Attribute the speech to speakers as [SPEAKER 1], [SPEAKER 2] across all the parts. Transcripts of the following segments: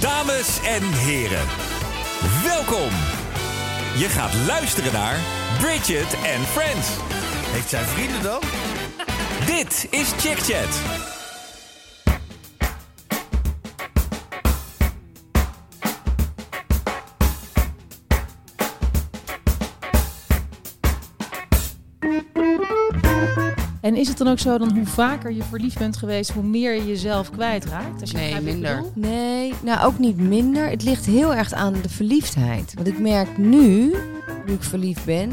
[SPEAKER 1] Dames en heren, welkom. Je gaat luisteren naar Bridget and Friends.
[SPEAKER 2] Heeft zij vrienden dan?
[SPEAKER 1] Dit is Chick Chat.
[SPEAKER 3] En is het dan ook zo dan hoe vaker je verliefd bent geweest, hoe meer je jezelf kwijtraakt? Als je
[SPEAKER 4] Nee,
[SPEAKER 3] begrijpt wat ik
[SPEAKER 4] minder.
[SPEAKER 3] bedoel?
[SPEAKER 5] Nee, nou ook niet minder. Het ligt heel erg aan de verliefdheid. Want ik merk nu, nu ik verliefd ben,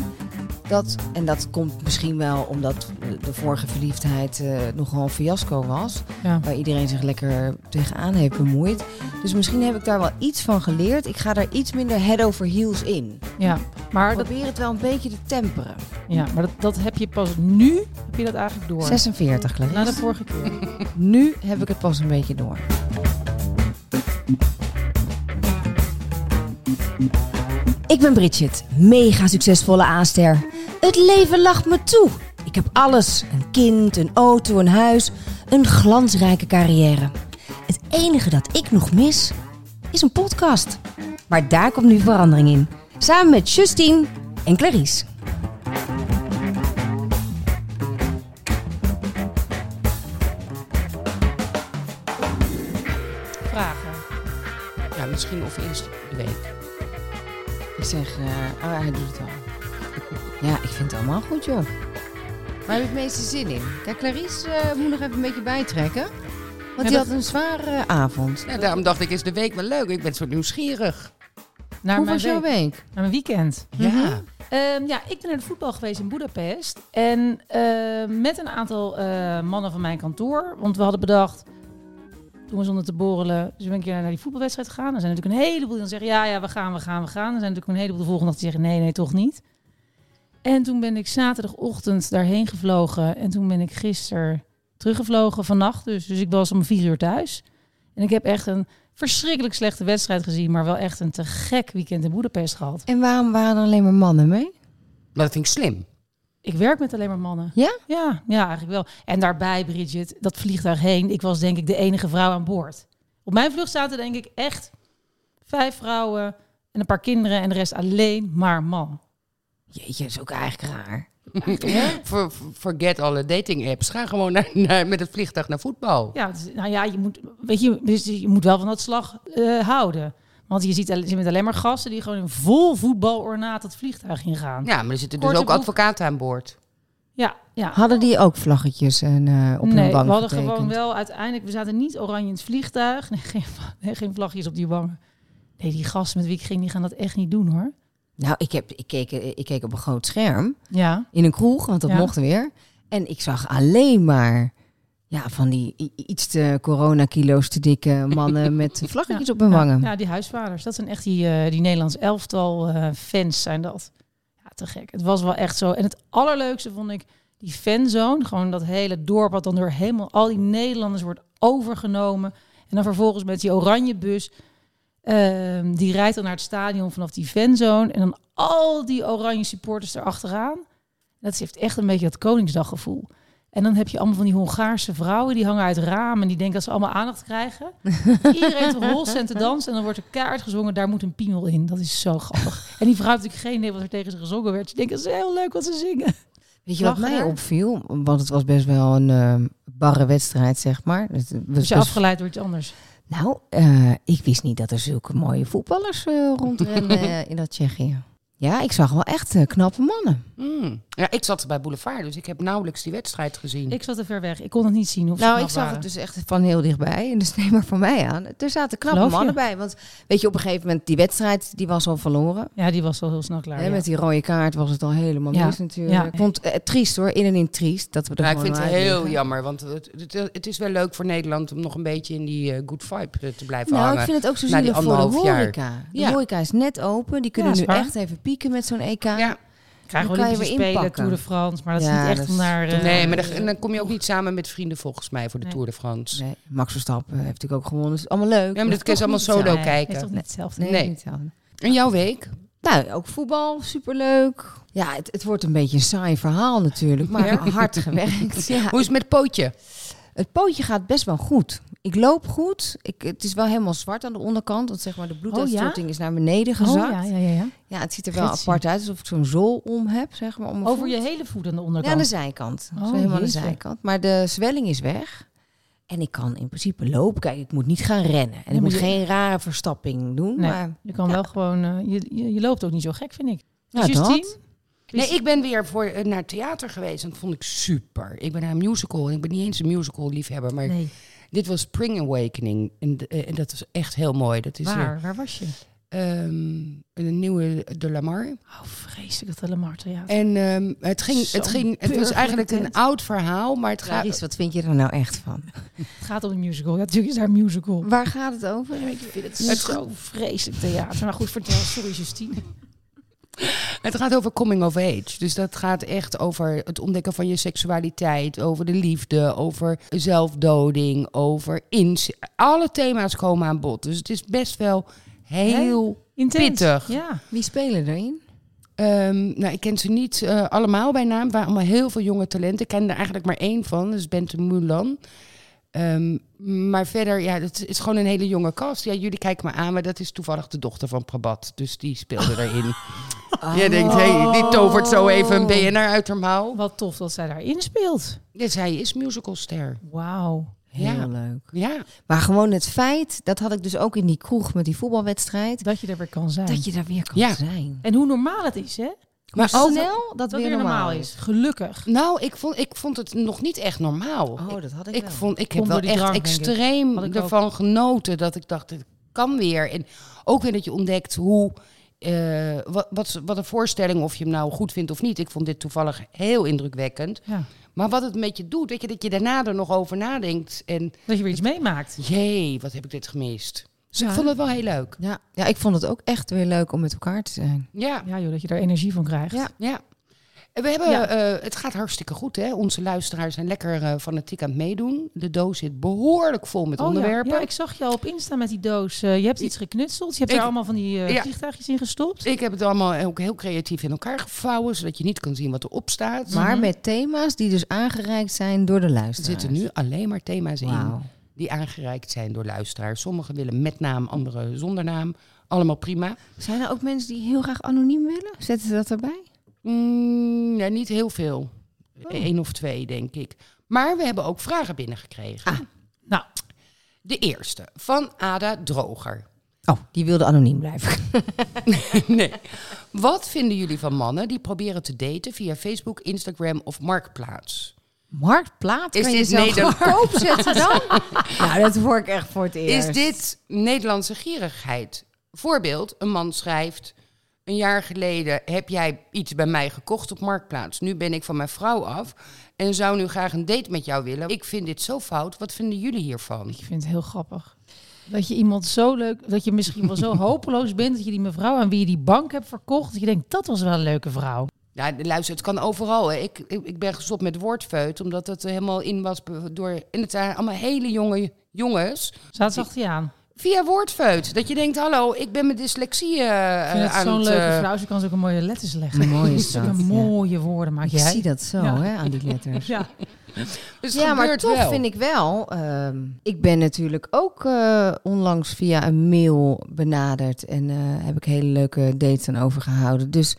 [SPEAKER 5] dat, en dat komt misschien wel omdat de vorige verliefdheid eh, nogal een fiasco was.
[SPEAKER 3] Ja.
[SPEAKER 5] Waar iedereen zich lekker tegenaan heeft bemoeid. Dus misschien heb ik daar wel iets van geleerd. Ik ga daar iets minder head over heels in.
[SPEAKER 3] Ja, maar, dat,
[SPEAKER 5] Probeer het wel een beetje te temperen.
[SPEAKER 3] ja, maar dat, dat heb je pas nu, heb je dat eigenlijk door.
[SPEAKER 5] 46 Clarice.
[SPEAKER 3] Na de vorige keer.
[SPEAKER 5] Nu heb ik het pas een beetje door. Ik ben Bridget, mega succesvolle aanster. Het leven lacht me toe. Ik heb alles: een kind, een auto, een huis, een glansrijke carrière. Het enige dat ik nog mis is een podcast. Maar daar komt nu verandering in. Samen met Justine en Clarice.
[SPEAKER 3] Vragen.
[SPEAKER 4] Ja, misschien of eerst de week.
[SPEAKER 5] Ik zeg, eh, oh ja, hij doet het al. Ja, ik vind het allemaal goed, joh. Waar heb je het meeste zin in? Kijk, Clarice eh, moet nog even een beetje bijtrekken. Want die
[SPEAKER 3] dat-
[SPEAKER 5] had een zware eh, avond.
[SPEAKER 4] Ja, daarom dacht ik, is de week wel leuk? Ik ben zo nieuwsgierig.
[SPEAKER 3] Naar
[SPEAKER 5] Hoe
[SPEAKER 3] mijn
[SPEAKER 5] was jouw
[SPEAKER 3] week-
[SPEAKER 5] week? Mhm.
[SPEAKER 3] Naar mijn weekend.
[SPEAKER 4] Ja.
[SPEAKER 3] Ehm, ja, ik ben naar de voetbal geweest in Budapest. En ehm, met een aantal eh, mannen van mijn kantoor. Want we hadden bedacht, toen we zonder te borrelen, dus we een keer naar die voetbalwedstrijd gegaan. Er zijn natuurlijk een heleboel die dan zeggen, ja, ja, we gaan, we gaan, we gaan. Er zijn natuurlijk een heleboel de volgende dag die zeggen, nee, nee, toch niet. En toen ben ik zaterdagochtend daarheen gevlogen. En toen ben ik gisteren teruggevlogen, vannacht dus. Dus ik was om vier uur thuis. En ik heb echt een verschrikkelijk slechte wedstrijd gezien, maar wel echt een te gek weekend in Budapest gehad.
[SPEAKER 5] En waarom waren er alleen maar mannen mee?
[SPEAKER 4] Maar dat vind ik slim.
[SPEAKER 3] Ik werk met alleen maar mannen.
[SPEAKER 5] Ja?
[SPEAKER 3] Ja, ja, eigenlijk wel. En daarbij, Bridget, dat vliegtuig heen. Ik was denk ik de enige vrouw aan boord. Op mijn vlucht zaten denk ik echt vijf vrouwen en een paar kinderen en de rest alleen maar man.
[SPEAKER 5] Jeetje, dat is ook eigenlijk raar.
[SPEAKER 4] Ver- ver- Forget alle dating apps. Ga gewoon naar, naar- met het vliegtuig naar voetbal.
[SPEAKER 3] Ja, het is- nou ja, je moet, weet je, dus je moet wel van dat slag eh, houden. Want je ziet, je ziet met alleen maar gasten die gewoon in vol voetbalornaat het vliegtuig ingaan.
[SPEAKER 4] Ja, maar er zitten dus
[SPEAKER 3] Korte
[SPEAKER 4] ook
[SPEAKER 3] broek.
[SPEAKER 4] advocaten aan boord.
[SPEAKER 3] Ja, ja.
[SPEAKER 5] Hadden die ook vlaggetjes en, eh, op hun
[SPEAKER 3] nee,
[SPEAKER 5] wang
[SPEAKER 3] we hadden
[SPEAKER 5] getekend?
[SPEAKER 3] gewoon wel uiteindelijk... We zaten niet oranje in het vliegtuig. Nee, geen, vla- nee, geen vlagjes op die wangen. Nee, die gasten met wie ik ging, die gaan dat echt niet doen, hoor.
[SPEAKER 5] Nou, ik, heb, ik, keek, eh, ik keek op een groot scherm
[SPEAKER 3] Ja.
[SPEAKER 5] in een kroeg, want dat
[SPEAKER 3] Ja.
[SPEAKER 5] mocht weer. En ik zag alleen maar ja, van die i- iets te coronakilo's te dikke mannen met vlaggetjes op hun wangen.
[SPEAKER 3] Ja, die huisvaders. Dat zijn echt die, eh, die Nederlands elftal eh, fans zijn dat. Ja, te gek. Het was wel echt zo. En het allerleukste vond ik die fanzone. Gewoon dat hele dorp wat dan door helemaal al die Nederlanders wordt overgenomen. En dan vervolgens met die oranje bus. ehm, die rijdt dan naar het stadion vanaf die fanzone. En dan al die oranje supporters erachteraan. Dat heeft echt een beetje dat Koningsdaggevoel. En dan heb je allemaal van die Hongaarse vrouwen die hangen uit ramen en die denken dat ze allemaal aandacht krijgen. Iedereen te rollen en te dansen en dan wordt er kaart gezongen, daar moet een piemel in. Dat is zo grappig. En die vrouw heeft natuurlijk geen idee wat er tegen ze gezongen werd. Ze denkt, dat is heel leuk wat ze zingen.
[SPEAKER 4] Dus
[SPEAKER 5] Weet je wat
[SPEAKER 3] Lachen
[SPEAKER 5] mij
[SPEAKER 3] er?
[SPEAKER 5] opviel? Want het was best wel een eh, barre wedstrijd, zeg maar. Het was
[SPEAKER 3] Dus je
[SPEAKER 5] best-
[SPEAKER 3] afgeleid door iets anders.
[SPEAKER 4] Mm.
[SPEAKER 5] Nou, eh, ik wist niet dat er zulke mooie voetballers eh, rondrennen eh, in dat Tsjechië. Ja, ik zag wel echt eh, knappe mannen.
[SPEAKER 4] Hmm. Ja, ik zat bij Boulevard, dus ik heb nauwelijks die wedstrijd gezien.
[SPEAKER 3] Ik zat te ver weg. Ik kon het niet zien. Of ze
[SPEAKER 5] Nou,
[SPEAKER 3] knap
[SPEAKER 5] ik zag
[SPEAKER 3] waren.
[SPEAKER 5] het dus echt van heel dichtbij. En dus neem maar van mij aan. Er zaten knappe
[SPEAKER 3] Geloof je?
[SPEAKER 5] mannen bij. Want weet je, op een gegeven moment, die wedstrijd die was al verloren.
[SPEAKER 3] Ja, die was al heel snel klaar.
[SPEAKER 5] Hè,
[SPEAKER 3] ja.
[SPEAKER 5] Met die rode kaart was het al helemaal
[SPEAKER 3] Ja,
[SPEAKER 5] mis natuurlijk.
[SPEAKER 3] ja.
[SPEAKER 5] Ik vond het triest hoor, in en in triest. Dat we er
[SPEAKER 4] Ja, ik
[SPEAKER 5] gewoon
[SPEAKER 4] vind het
[SPEAKER 5] uit
[SPEAKER 4] heel
[SPEAKER 5] liggen.
[SPEAKER 4] jammer, want het, het, het is wel leuk voor Nederland om nog een beetje in die eh, good vibe eh, te blijven
[SPEAKER 5] Nou,
[SPEAKER 4] hangen.
[SPEAKER 5] ik vind het ook zo
[SPEAKER 4] na die
[SPEAKER 5] zielig voor de
[SPEAKER 4] anderhalf jaar.
[SPEAKER 5] horeca. De
[SPEAKER 4] Ja.
[SPEAKER 5] horeca is net open. Die kunnen
[SPEAKER 3] Ja, is
[SPEAKER 5] nu
[SPEAKER 3] waar.
[SPEAKER 5] echt even pieken met zo'n E EK.
[SPEAKER 4] Ja.
[SPEAKER 3] Krijgen we
[SPEAKER 5] Dan kan
[SPEAKER 3] Olympische
[SPEAKER 5] je weer
[SPEAKER 3] Spelen,
[SPEAKER 5] inpakken.
[SPEAKER 3] Tour de France. Maar dat is
[SPEAKER 5] Ja,
[SPEAKER 3] niet
[SPEAKER 5] dat
[SPEAKER 3] echt
[SPEAKER 5] is-
[SPEAKER 3] om naar... eh,
[SPEAKER 4] Nee, maar dan, en dan kom je ook niet samen met vrienden volgens mij voor de
[SPEAKER 3] Nee.
[SPEAKER 4] Tour de France.
[SPEAKER 5] Nee, Max Verstappen heeft natuurlijk ook gewonnen. Dus allemaal leuk.
[SPEAKER 4] Ja, maar dat kun
[SPEAKER 5] toch
[SPEAKER 4] je allemaal
[SPEAKER 5] niet
[SPEAKER 4] solo
[SPEAKER 5] hetzelfde.
[SPEAKER 3] nee,
[SPEAKER 4] kijken.
[SPEAKER 3] is toch niet hetzelfde.
[SPEAKER 5] Nee,
[SPEAKER 4] Nee.
[SPEAKER 5] niet hetzelfde.
[SPEAKER 4] En jouw week?
[SPEAKER 5] Nou, ook voetbal, superleuk. Ja, het, het wordt een beetje een saai verhaal natuurlijk, maar hard gewerkt. Ja,
[SPEAKER 4] Hoe is het met het pootje?
[SPEAKER 5] het pootje gaat best wel goed. ik loop goed. Ik, het is wel helemaal zwart aan de onderkant. Want zeg maar, de bloeduitstorting is naar beneden gezakt.
[SPEAKER 3] Oh,
[SPEAKER 5] ja,
[SPEAKER 3] ja, ja, ja, ja.
[SPEAKER 5] het ziet er wel
[SPEAKER 3] Gretchen.
[SPEAKER 5] apart uit. Alsof ik zo'n zool om heb, zeg maar. Om mijn
[SPEAKER 3] Over
[SPEAKER 5] voet.
[SPEAKER 3] je hele voet aan de
[SPEAKER 5] Ja, dus- aan de
[SPEAKER 3] onderkant.
[SPEAKER 5] zijkant.
[SPEAKER 3] Oh,
[SPEAKER 5] Zo helemaal aan de
[SPEAKER 3] jeetje.
[SPEAKER 5] zijkant. Maar de zwelling is weg. En ik kan in principe lopen. Kijk, ik moet niet gaan rennen. En
[SPEAKER 3] maar
[SPEAKER 5] ik moet
[SPEAKER 3] je-
[SPEAKER 5] geen rare verstapping doen.
[SPEAKER 3] Nee.
[SPEAKER 5] Maar...
[SPEAKER 3] je kan
[SPEAKER 5] Ja.
[SPEAKER 3] wel gewoon... eh, je, je, je loopt ook niet zo gek, vind ik.
[SPEAKER 5] Ja,
[SPEAKER 3] Justine?
[SPEAKER 5] dat.
[SPEAKER 4] Nee, ik ben weer voor, eh, naar theater geweest en dat vond ik super. Ik ben naar een musical en ik ben niet eens een musical liefhebber, maar
[SPEAKER 3] Nee,
[SPEAKER 4] dit was Spring Awakening en, d- eh, en dat is echt heel mooi. Dat is weer,
[SPEAKER 3] waar? Waar was je?
[SPEAKER 4] ehm, een nieuwe De Lamar.
[SPEAKER 3] Oh, vreselijk, dat Lamar Theater.
[SPEAKER 4] En ehm, het, ging, het,
[SPEAKER 3] Zo'n
[SPEAKER 4] ging, het was
[SPEAKER 3] burgerlijke
[SPEAKER 4] eigenlijk een
[SPEAKER 3] tent.
[SPEAKER 4] oud verhaal, maar het gaat...
[SPEAKER 5] Clarice, wat vind je er nou echt van?
[SPEAKER 3] Het gaat om een musical. Ja, natuurlijk is daar een musical.
[SPEAKER 5] Waar gaat het over?
[SPEAKER 3] Ik vind het,
[SPEAKER 4] Het
[SPEAKER 3] zo vreselijk theater. Maar goed, vertel. Sorry, Justine.
[SPEAKER 4] Het gaat over coming of age. Dus dat gaat echt over het ontdekken van je seksualiteit, over de liefde, over zelfdoding, over ins. Alle thema's komen aan bod. Dus het is best wel heel.
[SPEAKER 3] Intens.
[SPEAKER 4] Pittig.
[SPEAKER 3] Ja.
[SPEAKER 5] Wie spelen erin?
[SPEAKER 4] ehm, nou, ik ken ze niet eh, allemaal bij naam. Het waren allemaal heel veel jonge talenten. Ik ken er eigenlijk maar één van, dus Bente Mulan. Ehm, maar verder, ja, het is gewoon een hele jonge cast. Ja, jullie kijken me aan, maar dat is toevallig de dochter van Prabat. Dus die speelde erin. Je Oh. denkt, hé, hey, die tovert zo even een BNR uit haar mouw.
[SPEAKER 3] Wat tof dat zij daarin speelt.
[SPEAKER 4] Ja, zij is musicalster.
[SPEAKER 3] Wauw.
[SPEAKER 5] Heel
[SPEAKER 4] Ja.
[SPEAKER 5] leuk.
[SPEAKER 4] Ja.
[SPEAKER 5] Maar gewoon het feit, dat had ik dus ook in die kroeg met die voetbalwedstrijd.
[SPEAKER 3] Dat je er weer kan zijn.
[SPEAKER 5] Dat je daar weer kan
[SPEAKER 4] Ja.
[SPEAKER 5] zijn.
[SPEAKER 3] En hoe normaal het is, hè?
[SPEAKER 4] Maar
[SPEAKER 5] Snel
[SPEAKER 4] ook,
[SPEAKER 5] dat,
[SPEAKER 3] Dat weer normaal is. Gelukkig.
[SPEAKER 4] nou, ik vond, ik vond het nog niet echt normaal.
[SPEAKER 5] Oh,
[SPEAKER 4] ik,
[SPEAKER 5] dat had ik,
[SPEAKER 4] ik
[SPEAKER 5] wel.
[SPEAKER 4] vond, ik heb
[SPEAKER 3] Komt
[SPEAKER 4] wel
[SPEAKER 3] door die
[SPEAKER 4] echt
[SPEAKER 3] drank, denk ik. Had
[SPEAKER 4] extreem
[SPEAKER 3] ik ook.
[SPEAKER 4] ervan genoten dat ik dacht, dit kan weer. En ook weer dat je ontdekt hoe, eh, wat, wat, wat een voorstelling, of je hem nou goed vindt of niet. Ik vond dit toevallig heel indrukwekkend.
[SPEAKER 3] Ja.
[SPEAKER 4] Maar wat het met je doet, weet je, dat je daarna er nog over nadenkt. En
[SPEAKER 3] Dat je weer iets meemaakt.
[SPEAKER 4] jee, wat heb ik dit gemist. Dus
[SPEAKER 3] Ja.
[SPEAKER 4] ik vond het wel heel leuk.
[SPEAKER 5] Ja. ja, ik vond het ook echt weer leuk om met elkaar te zijn.
[SPEAKER 4] Ja.
[SPEAKER 3] Ja, joh, dat je daar energie van krijgt. Oh
[SPEAKER 5] Ja.
[SPEAKER 4] Ja. En We hebben,
[SPEAKER 3] Ja.
[SPEAKER 4] eh, het gaat hartstikke goed, hè? Onze luisteraars zijn lekker eh, fanatiek aan het meedoen. De doos zit behoorlijk vol met
[SPEAKER 3] Oh,
[SPEAKER 4] onderwerpen.
[SPEAKER 3] Ja. ja, ik zag je al op Insta met die doos. Eh, je hebt iets geknutseld. Je hebt
[SPEAKER 4] Ik-
[SPEAKER 3] er allemaal van die eh,
[SPEAKER 4] Ja.
[SPEAKER 3] vliegtuigjes in gestopt.
[SPEAKER 4] ik heb het allemaal ook heel creatief in elkaar gevouwen, zodat je niet kan zien wat erop staat.
[SPEAKER 5] Maar met thema's die dus aangereikt zijn door de
[SPEAKER 4] er
[SPEAKER 5] luisteraars.
[SPEAKER 4] zitten nu alleen maar thema's
[SPEAKER 5] Wauw.
[SPEAKER 4] in die aangereikt zijn door luisteraars. Sommigen willen met naam, anderen zonder naam. Allemaal prima.
[SPEAKER 5] Zijn er ook mensen die heel graag anoniem willen? Zetten ze dat erbij?
[SPEAKER 4] Mm, nee, niet heel veel. Eén of twee, denk ik. Maar we hebben ook vragen binnengekregen.
[SPEAKER 3] Nou,
[SPEAKER 4] De eerste, van Ada Droger.
[SPEAKER 5] Oh, die wilde anoniem blijven.
[SPEAKER 4] Nee. Wat vinden jullie van mannen die proberen te daten via Facebook, Instagram of Marktplaats?
[SPEAKER 5] Marktplaats?
[SPEAKER 4] Is
[SPEAKER 5] kan
[SPEAKER 4] dit
[SPEAKER 5] je zelf
[SPEAKER 4] Nederland-
[SPEAKER 5] goedkoop zetten dan? nou, dat hoor ik echt voor het
[SPEAKER 4] Is
[SPEAKER 5] eerst.
[SPEAKER 4] dit Nederlandse gierigheid? Voorbeeld, een man schrijft... Een jaar geleden heb jij iets bij mij gekocht op Marktplaats. Nu ben ik van mijn vrouw af en zou nu graag een date met jou willen. Ik vind dit zo fout. Wat vinden jullie hiervan?
[SPEAKER 3] ik vind het heel grappig. Dat je iemand zo leuk, dat je misschien wel zo hopeloos bent dat je die mevrouw aan wie je die bank hebt verkocht, dat je denkt dat was wel een leuke vrouw.
[SPEAKER 4] Ja, luister, het kan overal. Hè. Ik, ik, ik ben gestopt met woordfeut, omdat het er helemaal in was be- door... En het zijn allemaal hele jonge jongens
[SPEAKER 3] Zaten ze achter je aan.
[SPEAKER 4] Via woordfeut. Dat je denkt, hallo, ik ben mijn dyslexie eh,
[SPEAKER 3] Ik vind
[SPEAKER 4] eh,
[SPEAKER 3] het
[SPEAKER 4] aan
[SPEAKER 3] zo'n
[SPEAKER 4] het...
[SPEAKER 3] leuke
[SPEAKER 4] eh,
[SPEAKER 3] vrouw. Ze kan ook een mooie letters leggen.
[SPEAKER 5] Mooi is
[SPEAKER 3] Zulke
[SPEAKER 5] dat, ja.
[SPEAKER 3] mooie woorden maak
[SPEAKER 5] Ik
[SPEAKER 3] jij.
[SPEAKER 5] zie dat zo,
[SPEAKER 3] Ja.
[SPEAKER 5] hè, aan die letters.
[SPEAKER 3] Ja.
[SPEAKER 4] dus het
[SPEAKER 5] Ja, maar
[SPEAKER 4] gebeurt
[SPEAKER 5] toch
[SPEAKER 4] wel.
[SPEAKER 5] vind ik wel. ehm, ik ben natuurlijk ook eh, onlangs via een mail benaderd. En eh, heb ik hele leuke dates aan overgehouden. Dus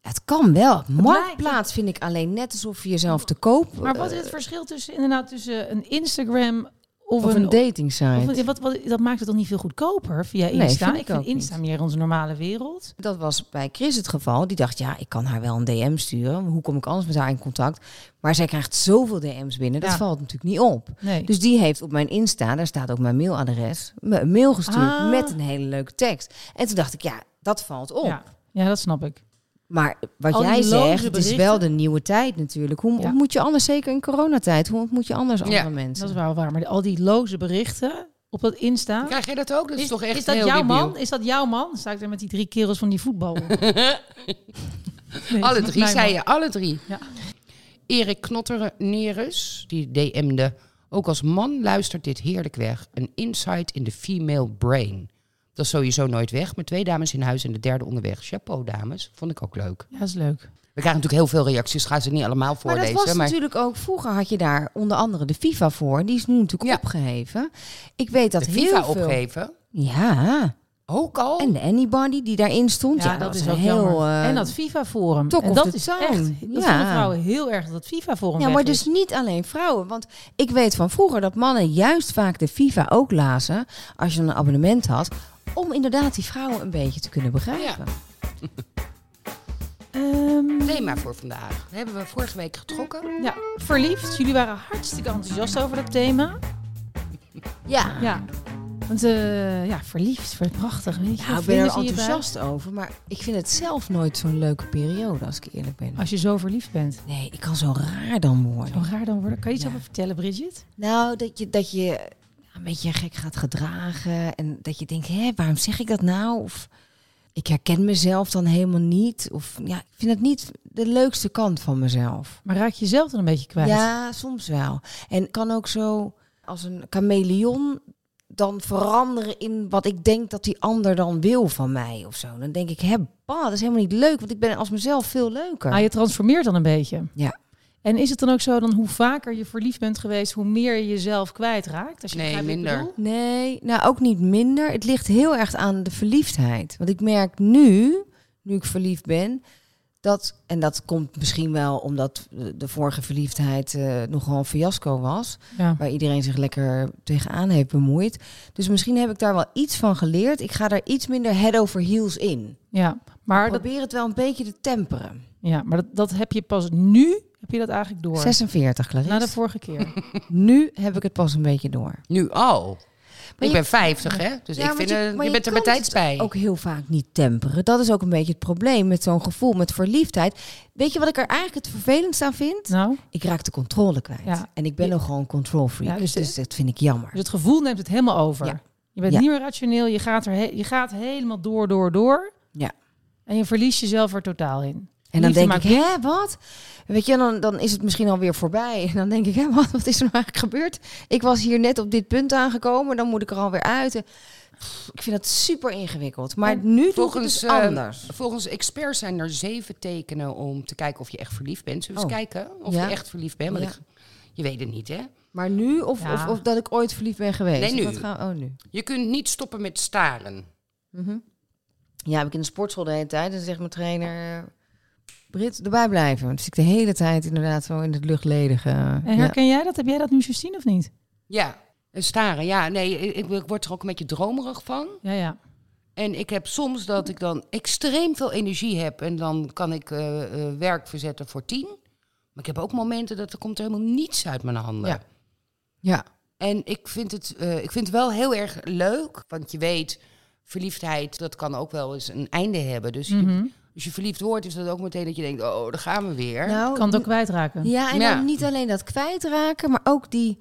[SPEAKER 5] het kan wel. Marktplaats vind ik alleen net alsof je jezelf te koop.
[SPEAKER 3] Maar wat is
[SPEAKER 5] eh,
[SPEAKER 3] het verschil tussen, inderdaad, tussen een Instagram of,
[SPEAKER 5] of een dating
[SPEAKER 3] of
[SPEAKER 5] site.
[SPEAKER 3] een- wat, wat, dat maakt het dan niet veel goedkoper via
[SPEAKER 5] Nee,
[SPEAKER 3] Insta.
[SPEAKER 5] vind
[SPEAKER 3] ik,
[SPEAKER 5] ik
[SPEAKER 3] vind
[SPEAKER 5] ook
[SPEAKER 3] Insta
[SPEAKER 5] niet.
[SPEAKER 3] meer onze normale wereld.
[SPEAKER 5] Dat was bij Chris het geval. Die dacht, ja, ik kan haar wel een DM sturen. Hoe kom ik anders met haar in contact? Maar zij krijgt zoveel DM's binnen. Dat
[SPEAKER 3] Ja.
[SPEAKER 5] valt natuurlijk niet op.
[SPEAKER 3] Nee.
[SPEAKER 5] Dus die heeft op mijn Insta, daar staat ook mijn mailadres, me een mail gestuurd
[SPEAKER 3] Ah.
[SPEAKER 5] met een hele leuke tekst. En toen dacht ik, ja, dat valt Dus op.
[SPEAKER 3] ja. ja, dat snap ik.
[SPEAKER 5] Maar wat
[SPEAKER 3] Al die
[SPEAKER 5] jij
[SPEAKER 3] loze
[SPEAKER 5] zegt, het is wel
[SPEAKER 3] berichten.
[SPEAKER 5] de nieuwe tijd natuurlijk. Hoe
[SPEAKER 3] Ja.
[SPEAKER 5] ontmoet je anders, zeker in coronatijd, hoe ontmoet je anders andere
[SPEAKER 4] Ja,
[SPEAKER 5] mensen?
[SPEAKER 3] Dat is wel waar. Maar al die loze berichten op dat Insta.
[SPEAKER 4] Krijg jij dat ook? Dat is, toch echt
[SPEAKER 3] is dat
[SPEAKER 4] heel
[SPEAKER 3] jouw
[SPEAKER 4] debiel.
[SPEAKER 3] man? Is dat jouw man? Dan Sta ik daar met die drie kerels van die voetbal? op. Nee, dat
[SPEAKER 4] Alle
[SPEAKER 3] is
[SPEAKER 4] drie,
[SPEAKER 3] mijn
[SPEAKER 4] zei
[SPEAKER 3] man.
[SPEAKER 4] je. Alle drie.
[SPEAKER 3] Ja.
[SPEAKER 4] Erik Knotter-Nerus, die DM'de... Ook als man luistert dit heerlijk weg. Een insight in the female brain. Dat is sowieso nooit weg. Met twee dames in huis en de derde onderweg. Chapeau, dames. Vond ik ook leuk.
[SPEAKER 3] Ja, dat is leuk.
[SPEAKER 4] We We krijgen natuurlijk heel veel reacties, ga ze niet allemaal
[SPEAKER 5] Maar dat
[SPEAKER 4] voorlezen.
[SPEAKER 5] was
[SPEAKER 4] maar-
[SPEAKER 5] natuurlijk ook, vroeger had je daar onder andere de FIFA voor. Die is nu natuurlijk
[SPEAKER 4] Ja.
[SPEAKER 5] opgeheven. Ik weet dat
[SPEAKER 4] de
[SPEAKER 5] heel
[SPEAKER 4] FIFA
[SPEAKER 5] veel...
[SPEAKER 4] opgeven.
[SPEAKER 5] Ja,
[SPEAKER 4] Ook al.
[SPEAKER 3] Oh.
[SPEAKER 5] en de Anybody die daarin stond. Ja, dat, is ook heel... eh,
[SPEAKER 3] en dat FIFA-forum.
[SPEAKER 5] Talk
[SPEAKER 3] En
[SPEAKER 5] of
[SPEAKER 3] dat
[SPEAKER 5] the
[SPEAKER 3] is
[SPEAKER 5] town.
[SPEAKER 3] echt, dat
[SPEAKER 5] Ja.
[SPEAKER 3] vinden vrouwen heel erg, dat FIFA-forum
[SPEAKER 5] ja,
[SPEAKER 3] weg
[SPEAKER 5] maar
[SPEAKER 3] is.
[SPEAKER 5] dus niet alleen vrouwen. Want ik weet van vroeger dat mannen juist vaak de FIFA ook lazen. Als je een abonnement had. Om inderdaad die vrouwen een beetje te kunnen begrijpen.
[SPEAKER 3] Ehm,
[SPEAKER 4] thema voor vandaag. Dat hebben we vorige week getrokken.
[SPEAKER 3] ja, verliefd. Jullie waren hartstikke enthousiast over dat thema.
[SPEAKER 5] Ja.
[SPEAKER 3] Ja. Want eh, ja, verliefd, ver- prachtig. Weet je,
[SPEAKER 5] Nou, ik ben
[SPEAKER 3] vlinders
[SPEAKER 5] er
[SPEAKER 3] in je buik.
[SPEAKER 5] enthousiast over. Maar ik vind het zelf nooit zo'n leuke periode, als ik eerlijk ben.
[SPEAKER 3] Als je zo verliefd bent.
[SPEAKER 5] Nee, ik kan zo raar dan worden.
[SPEAKER 3] Zo raar dan worden. Kan je iets
[SPEAKER 5] Ja.
[SPEAKER 3] over vertellen, Bridget?
[SPEAKER 5] Nou, dat je, dat je een beetje gek gaat gedragen. En dat je denkt, hè, waarom zeg ik dat nou? Of ik herken mezelf dan helemaal niet. Of ja, ik vind het niet de leukste kant van mezelf.
[SPEAKER 3] Maar raak je jezelf dan een beetje kwijt?
[SPEAKER 5] Ja, soms wel. En kan ook zo als een chameleon dan veranderen in wat ik denk dat die ander dan wil van mij of zo. Dan denk ik, hè, bah, dat is helemaal niet leuk, want ik ben als mezelf veel leuker.
[SPEAKER 3] Ah, je transformeert dan een beetje.
[SPEAKER 5] Ja.
[SPEAKER 3] En is het dan ook zo dan hoe vaker je verliefd bent geweest, hoe meer je jezelf kwijtraakt? Als je
[SPEAKER 4] Nee,
[SPEAKER 3] begrijpt wat ik
[SPEAKER 4] minder.
[SPEAKER 3] bedoel?
[SPEAKER 5] Nee, nou ook niet minder. Het ligt heel erg aan de verliefdheid. Want ik merk nu, nu ik verliefd ben, dat, en dat komt misschien wel omdat eh, de vorige verliefdheid eh, nogal een fiasco was,
[SPEAKER 3] Ja.
[SPEAKER 5] waar iedereen zich lekker tegenaan heeft bemoeid. Dus misschien heb ik daar wel iets van geleerd. Ik ga daar iets minder head over heels in.
[SPEAKER 3] ja. Maar, dat,
[SPEAKER 5] Probeer het wel een beetje te temperen.
[SPEAKER 3] ja, maar dat, dat heb je pas nu, heb je dat eigenlijk door.
[SPEAKER 5] 46, Clarice.
[SPEAKER 3] Na de vorige keer.
[SPEAKER 5] Nou, Nu heb ik het pas een beetje door.
[SPEAKER 4] Nu al.
[SPEAKER 5] Maar
[SPEAKER 4] ik
[SPEAKER 5] je-
[SPEAKER 4] ben 50, hè? Dus
[SPEAKER 5] Ja,
[SPEAKER 4] ik
[SPEAKER 5] want
[SPEAKER 4] vind,
[SPEAKER 5] je-
[SPEAKER 4] eh, je,
[SPEAKER 5] maar je
[SPEAKER 4] bent er
[SPEAKER 5] kan
[SPEAKER 4] bij tijds
[SPEAKER 5] het
[SPEAKER 4] bij.
[SPEAKER 5] ook heel vaak niet temperen. Dat is ook een beetje het probleem met zo'n gevoel, met verliefdheid. Weet je wat ik er eigenlijk het vervelendst aan vind?
[SPEAKER 3] Nou,
[SPEAKER 5] Ik raak de controle kwijt.
[SPEAKER 3] Ja.
[SPEAKER 5] En ik ben
[SPEAKER 3] Je-
[SPEAKER 5] nog gewoon control freak.
[SPEAKER 3] Ja, dus
[SPEAKER 5] dus,
[SPEAKER 3] de-
[SPEAKER 5] dat vind ik jammer.
[SPEAKER 3] dus het gevoel neemt het helemaal over.
[SPEAKER 5] Ja.
[SPEAKER 3] Je bent
[SPEAKER 5] Ja.
[SPEAKER 3] niet meer rationeel, je gaat, er he- je gaat helemaal door, door, door.
[SPEAKER 5] Ja.
[SPEAKER 3] En je verliest jezelf er totaal in.
[SPEAKER 5] En dan
[SPEAKER 3] liefde
[SPEAKER 5] denk ik,
[SPEAKER 3] maakt
[SPEAKER 5] hè, wat? Weet je, dan, dan is het misschien alweer voorbij. En dan denk ik, hè, wat, wat is er nou eigenlijk gebeurd? Ik was hier net op dit punt aangekomen, dan moet ik er alweer uit. En, pff, Ik vind dat super ingewikkeld. Maar
[SPEAKER 3] En
[SPEAKER 5] nu doe ik het
[SPEAKER 4] Volgens,
[SPEAKER 5] dus
[SPEAKER 4] eh,
[SPEAKER 5] anders.
[SPEAKER 4] volgens experts zijn er zeven tekenen om te kijken of je echt verliefd bent. Zullen we
[SPEAKER 5] Oh.
[SPEAKER 4] eens kijken of
[SPEAKER 5] Ja.
[SPEAKER 4] je echt verliefd bent? Want
[SPEAKER 5] Ja.
[SPEAKER 4] ik- je weet het niet, hè?
[SPEAKER 5] Maar nu of,
[SPEAKER 3] Ja.
[SPEAKER 5] of, of dat ik ooit verliefd ben geweest?
[SPEAKER 4] Nee, nu.
[SPEAKER 5] Wat gaan we- oh, nu.
[SPEAKER 4] Je kunt niet stoppen met staren.
[SPEAKER 5] Ja, heb ik in de sportschool de hele tijd. En dan zegt mijn trainer, eh, Brit, erbij blijven. Want dan zit ik de hele tijd inderdaad zo in het luchtledige.
[SPEAKER 3] En herken jij dat? Heb jij dat nu Justine of niet?
[SPEAKER 4] Ja, en staren. Ja, nee, ik, ik word er ook een beetje dromerig van.
[SPEAKER 3] Ja, ja.
[SPEAKER 4] En ik heb soms dat ik dan extreem veel energie heb en dan kan ik eh, eh, werk verzetten voor tien. Maar ik heb ook momenten dat er komt er helemaal niets uit mijn handen.
[SPEAKER 5] Ja. ja.
[SPEAKER 4] En ik vind, het, eh, ik vind het wel heel erg leuk, want je weet, verliefdheid, dat kan ook wel eens een einde hebben. Dus je-
[SPEAKER 3] Mhm.
[SPEAKER 5] Oh,
[SPEAKER 4] als je verliefd wordt, is dat ook meteen dat je denkt, oh, daar gaan we weer.
[SPEAKER 5] Nou,
[SPEAKER 3] Kan het ook kwijtraken.
[SPEAKER 5] Ja, en
[SPEAKER 4] Ja.
[SPEAKER 5] dan niet alleen dat kwijtraken, maar ook die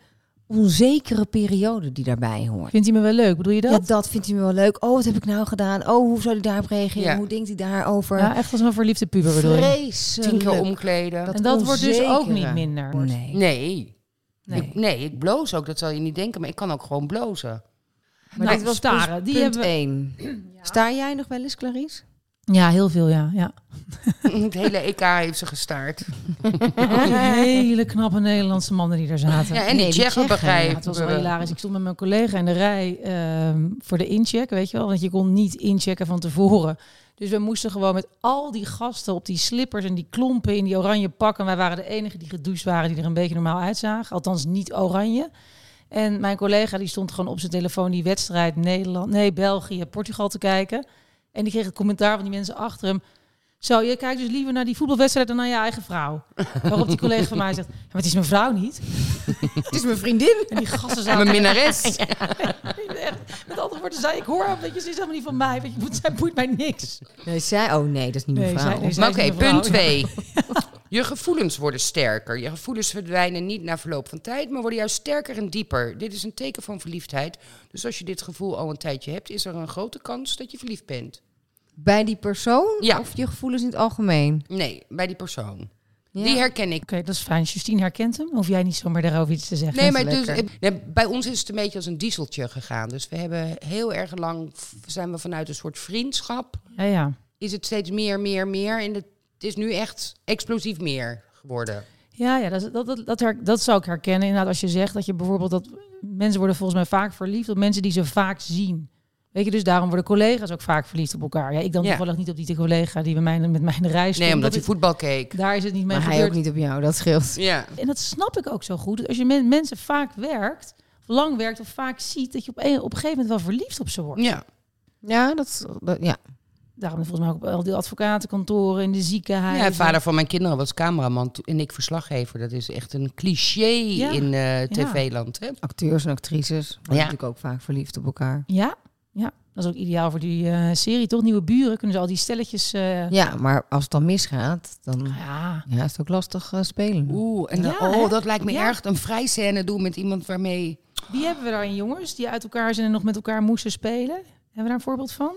[SPEAKER 5] onzekere periode die daarbij hoort.
[SPEAKER 3] Vindt hij me wel leuk? Bedoel je dat?
[SPEAKER 5] Ja, dat vindt hij me wel leuk. Oh, wat heb ik nou gedaan? Oh, hoe zou hij daarop reageren?
[SPEAKER 4] Ja.
[SPEAKER 5] Hoe denkt hij daarover?
[SPEAKER 3] Ja, echt als een verliefde puber bedoel je?
[SPEAKER 5] Vreselijk.
[SPEAKER 4] Tien keer omkleden.
[SPEAKER 5] Dat-
[SPEAKER 3] En dat wordt dus ook
[SPEAKER 5] onzekere.
[SPEAKER 3] niet minder.
[SPEAKER 5] Nee.
[SPEAKER 4] Nee.
[SPEAKER 3] Nee.
[SPEAKER 4] Ik, nee, ik bloos ook, dat zal je niet denken, maar ik kan ook gewoon blozen.
[SPEAKER 5] Maar
[SPEAKER 3] Nou,
[SPEAKER 5] dit was
[SPEAKER 3] staren,
[SPEAKER 5] punt-
[SPEAKER 3] die
[SPEAKER 5] punt
[SPEAKER 3] hebben we-
[SPEAKER 5] één. Sta jij nog wel eens, Clarice?
[SPEAKER 3] Ja, heel veel, ja. ja.
[SPEAKER 4] Het hele EK heeft ze gestaard.
[SPEAKER 3] Al die hele knappe Nederlandse mannen die daar zaten.
[SPEAKER 4] Ja, en die
[SPEAKER 5] Nee, die
[SPEAKER 4] Tsjechen
[SPEAKER 5] Tsjechen,
[SPEAKER 3] Ja,
[SPEAKER 4] begrijpen.
[SPEAKER 3] het was wel hilarisch. Ik stond met mijn collega in de rij ehm, voor de incheck, weet je wel. Want je kon niet inchecken van tevoren. Dus we moesten gewoon met al die gasten op die slippers en die klompen in die oranje pakken. Wij waren de enigen die gedoucht waren, die er een beetje normaal uitzagen. Althans niet oranje. En mijn collega die stond gewoon op zijn telefoon die wedstrijd Nederland, nee België, Portugal te kijken. En die kreeg het commentaar van die mensen achter hem. Zo, je kijkt dus liever naar die voetbalwedstrijd dan naar je eigen vrouw. Waarop die collega van mij zegt, "Ja, maar het is mijn vrouw niet.
[SPEAKER 5] Het is mijn vriendin.
[SPEAKER 3] En die gasten zaten
[SPEAKER 4] Mijn minnares.
[SPEAKER 3] Echt, Met andere woorden zei ik, hoor hem, dat je, ze is helemaal niet van mij. Weet je, moet, zij boeit mij niks.
[SPEAKER 5] Nee, zij... Oh nee, dat is niet mijn
[SPEAKER 3] Nee,
[SPEAKER 5] verhaal.
[SPEAKER 3] zij- nee, zij-
[SPEAKER 4] Maar
[SPEAKER 3] is
[SPEAKER 4] oké,
[SPEAKER 3] een vrouw,
[SPEAKER 4] punt
[SPEAKER 3] ja.
[SPEAKER 4] twee. Je gevoelens worden sterker. Je gevoelens verdwijnen niet na verloop van tijd, maar worden juist sterker en dieper. Dit is een teken van verliefdheid. Dus als je dit gevoel al een tijdje hebt, is er een grote kans dat je verliefd bent.
[SPEAKER 5] Bij die persoon
[SPEAKER 4] Ja.
[SPEAKER 5] Hm, of je gevoelens in het algemeen?
[SPEAKER 4] Nee, bij die persoon.
[SPEAKER 5] Ja.
[SPEAKER 4] Die herken ik.
[SPEAKER 3] Oké, dat is fijn. Justine herkent hem. Hoef jij niet zomaar daarover iets te zeggen.
[SPEAKER 4] Nee, maar
[SPEAKER 5] lekker.
[SPEAKER 4] dus, eh, nee, bij ons is het een beetje als een dieseltje gegaan. Dus we hebben heel erg lang, zijn we vanuit een soort vriendschap
[SPEAKER 3] Ja, ja.
[SPEAKER 4] is het steeds meer, meer, meer. En dat het is nu echt explosief meer geworden.
[SPEAKER 3] Ja, ja dat, dat, dat, dat, her- dat zou ik herkennen. Inderdaad, als je zegt dat je bijvoorbeeld dat mensen worden volgens mij vaak verliefd op mensen die ze vaak zien. Weet je, dus daarom worden collega's ook vaak verliefd op elkaar. Ja, ik dan
[SPEAKER 4] Ja.
[SPEAKER 3] toevallig niet op die collega die bij mij, met mij in de reis stond.
[SPEAKER 4] Nee, omdat
[SPEAKER 3] Dat
[SPEAKER 4] hij
[SPEAKER 3] is-
[SPEAKER 4] voetbal keek.
[SPEAKER 3] Daar is het niet mee
[SPEAKER 5] Maar hij
[SPEAKER 3] gebeurd.
[SPEAKER 5] ook niet op jou, dat scheelt.
[SPEAKER 4] Ja.
[SPEAKER 3] En dat snap ik ook zo goed. Dus als je men- mensen vaak werkt, of lang werkt of vaak ziet, dat je op een, op een gegeven moment wel verliefd op ze wordt.
[SPEAKER 4] Ja.
[SPEAKER 5] Ja, dat, dat- ja.
[SPEAKER 3] Daarom volgens mij ook op al die advocatenkantoren, in de ziekenhuizen.
[SPEAKER 4] ja, vader van mijn kinderen was cameraman to- en ik verslaggever. Dat is echt een cliché
[SPEAKER 3] Ja.
[SPEAKER 4] in eh, tv-land. hè?
[SPEAKER 5] Acteurs en actrices worden
[SPEAKER 4] Ja.
[SPEAKER 5] natuurlijk ook vaak verliefd op elkaar.
[SPEAKER 3] Ja, ja, dat is ook ideaal voor die eh, serie, toch? Nieuwe buren, kunnen ze al die stelletjes... eh,
[SPEAKER 5] Ja, maar als het dan misgaat, dan
[SPEAKER 3] ja.
[SPEAKER 5] ja, is het ook lastig eh, spelen.
[SPEAKER 4] Oeh, en dan-
[SPEAKER 3] Ja, hè?
[SPEAKER 4] oh, dat lijkt me
[SPEAKER 3] Ja.
[SPEAKER 4] erg. Een vrijscène doen met iemand waarmee...
[SPEAKER 3] Wie hebben we daarin, jongens? Die uit elkaar zijn en nog met elkaar moesten spelen? Hebben we daar een voorbeeld van?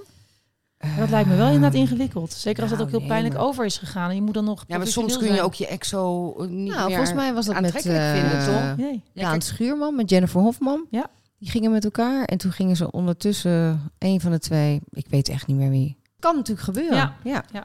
[SPEAKER 3] dat lijkt me wel inderdaad
[SPEAKER 4] Ehm,
[SPEAKER 3] ingewikkeld. Zeker als dat
[SPEAKER 5] nou,
[SPEAKER 3] ook heel
[SPEAKER 5] nee,
[SPEAKER 3] pijnlijk
[SPEAKER 5] maar-
[SPEAKER 3] over is gegaan. En je moet dan nog
[SPEAKER 4] Ja, maar
[SPEAKER 3] professioneel
[SPEAKER 4] soms kun je
[SPEAKER 3] zijn.
[SPEAKER 4] ook je ex zo eh, niet
[SPEAKER 5] Nou,
[SPEAKER 4] meer...
[SPEAKER 5] volgens mij was dat met
[SPEAKER 4] aantrekkelijk vinden, toch?
[SPEAKER 5] eh,
[SPEAKER 3] Nee.
[SPEAKER 4] Ja,
[SPEAKER 5] Daan
[SPEAKER 4] kijk,
[SPEAKER 5] Schuurman, met Jennifer Hofman.
[SPEAKER 3] Ja.
[SPEAKER 5] Die gingen met elkaar en toen gingen ze ondertussen een van de twee, ik weet echt niet meer wie. Kan natuurlijk gebeuren.
[SPEAKER 3] Ja.
[SPEAKER 5] ja.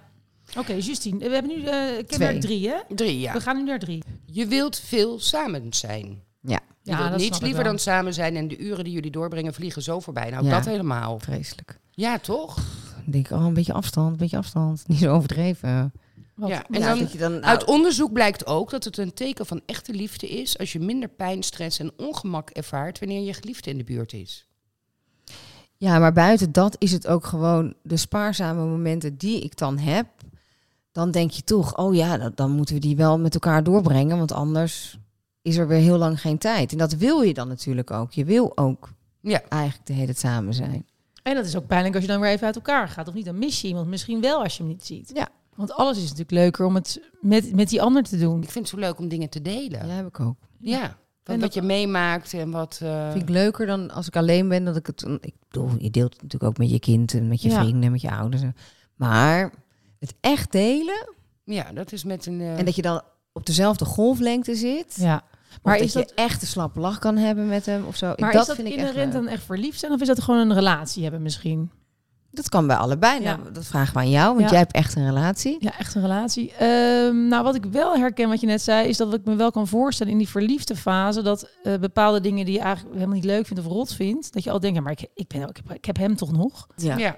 [SPEAKER 3] Oké, Justine. We hebben nu eh
[SPEAKER 5] Twee.
[SPEAKER 3] kenmerk drie, hè?
[SPEAKER 4] Drie, ja.
[SPEAKER 3] We gaan nu naar drie.
[SPEAKER 4] Je wilt veel samen zijn.
[SPEAKER 5] Ja,
[SPEAKER 4] Je wilt
[SPEAKER 3] dat
[SPEAKER 4] niets
[SPEAKER 3] snap ik
[SPEAKER 4] liever
[SPEAKER 3] wel.
[SPEAKER 4] dan samen zijn en de uren die jullie doorbrengen vliegen zo voorbij. Nou,
[SPEAKER 5] Ja.
[SPEAKER 4] dat helemaal.
[SPEAKER 5] vreselijk.
[SPEAKER 4] Ja, toch?
[SPEAKER 5] Dan denk ik, oh, een beetje afstand, een beetje afstand. Niet zo overdreven.
[SPEAKER 3] Want-
[SPEAKER 4] Ja,
[SPEAKER 5] Ja,
[SPEAKER 4] en dan-
[SPEAKER 5] nou, dat je dan,
[SPEAKER 4] Uit onderzoek blijkt ook dat het een teken van echte liefde is als je minder pijn, stress en ongemak ervaart wanneer je geliefde in de buurt is.
[SPEAKER 5] Ja, maar buiten dat is het ook gewoon de spaarzame momenten die ik dan heb. Dan denk je toch, oh ja, dat- dan moeten we die wel met elkaar doorbrengen. Want anders is er weer heel lang geen tijd. En dat wil je dan natuurlijk ook. Je wil ook
[SPEAKER 4] Ja.
[SPEAKER 5] eigenlijk de hele tijd samen zijn.
[SPEAKER 3] En dat is ook pijnlijk als je dan weer even uit elkaar gaat. Of niet, dan mis je iemand misschien wel als je hem niet ziet.
[SPEAKER 5] Ja.
[SPEAKER 3] Want alles is natuurlijk leuker om het met, met die ander te doen.
[SPEAKER 4] Ik vind het zo leuk om dingen te
[SPEAKER 5] Ja,
[SPEAKER 4] delen. Ja.
[SPEAKER 5] heb ik ook.
[SPEAKER 4] Wat,
[SPEAKER 3] En
[SPEAKER 4] wat
[SPEAKER 3] dat-
[SPEAKER 4] je meemaakt en wat... eh,
[SPEAKER 5] Vind ik leuker dan als ik alleen ben. Dat ik het. Ik bedoel, je deelt het natuurlijk ook met je kind en met je
[SPEAKER 3] Ja.
[SPEAKER 5] vrienden en met je ouders. Maar het echt delen.
[SPEAKER 4] Ja, dat is met een... eh,
[SPEAKER 5] En dat je dan op dezelfde golflengte zit.
[SPEAKER 3] Ja.
[SPEAKER 5] Maar
[SPEAKER 3] Maar
[SPEAKER 5] dat
[SPEAKER 3] is
[SPEAKER 5] je
[SPEAKER 3] dat,
[SPEAKER 5] echt een slappe lach kan hebben met hem of zo. Ik-
[SPEAKER 3] maar
[SPEAKER 5] dat
[SPEAKER 3] is dat
[SPEAKER 5] vind ik echt
[SPEAKER 3] inherent
[SPEAKER 5] leuk.
[SPEAKER 3] dan echt verliefd zijn? Of is dat gewoon een relatie hebben misschien?
[SPEAKER 5] Dat kan bij allebei.
[SPEAKER 3] Ja.
[SPEAKER 5] Nou, dat vragen we aan jou, want
[SPEAKER 3] Ja.
[SPEAKER 5] jij hebt echt een relatie.
[SPEAKER 3] Ja, echt een relatie. Ehm, nou, wat ik wel herken, wat je net zei, is dat ik me wel kan voorstellen in die verliefde fase dat eh, bepaalde dingen die je eigenlijk helemaal niet leuk vindt of rot vindt, dat je al denkt, ja, maar ik, ik, ben, ik, heb, ik heb hem toch nog?
[SPEAKER 5] Ja.
[SPEAKER 4] ja.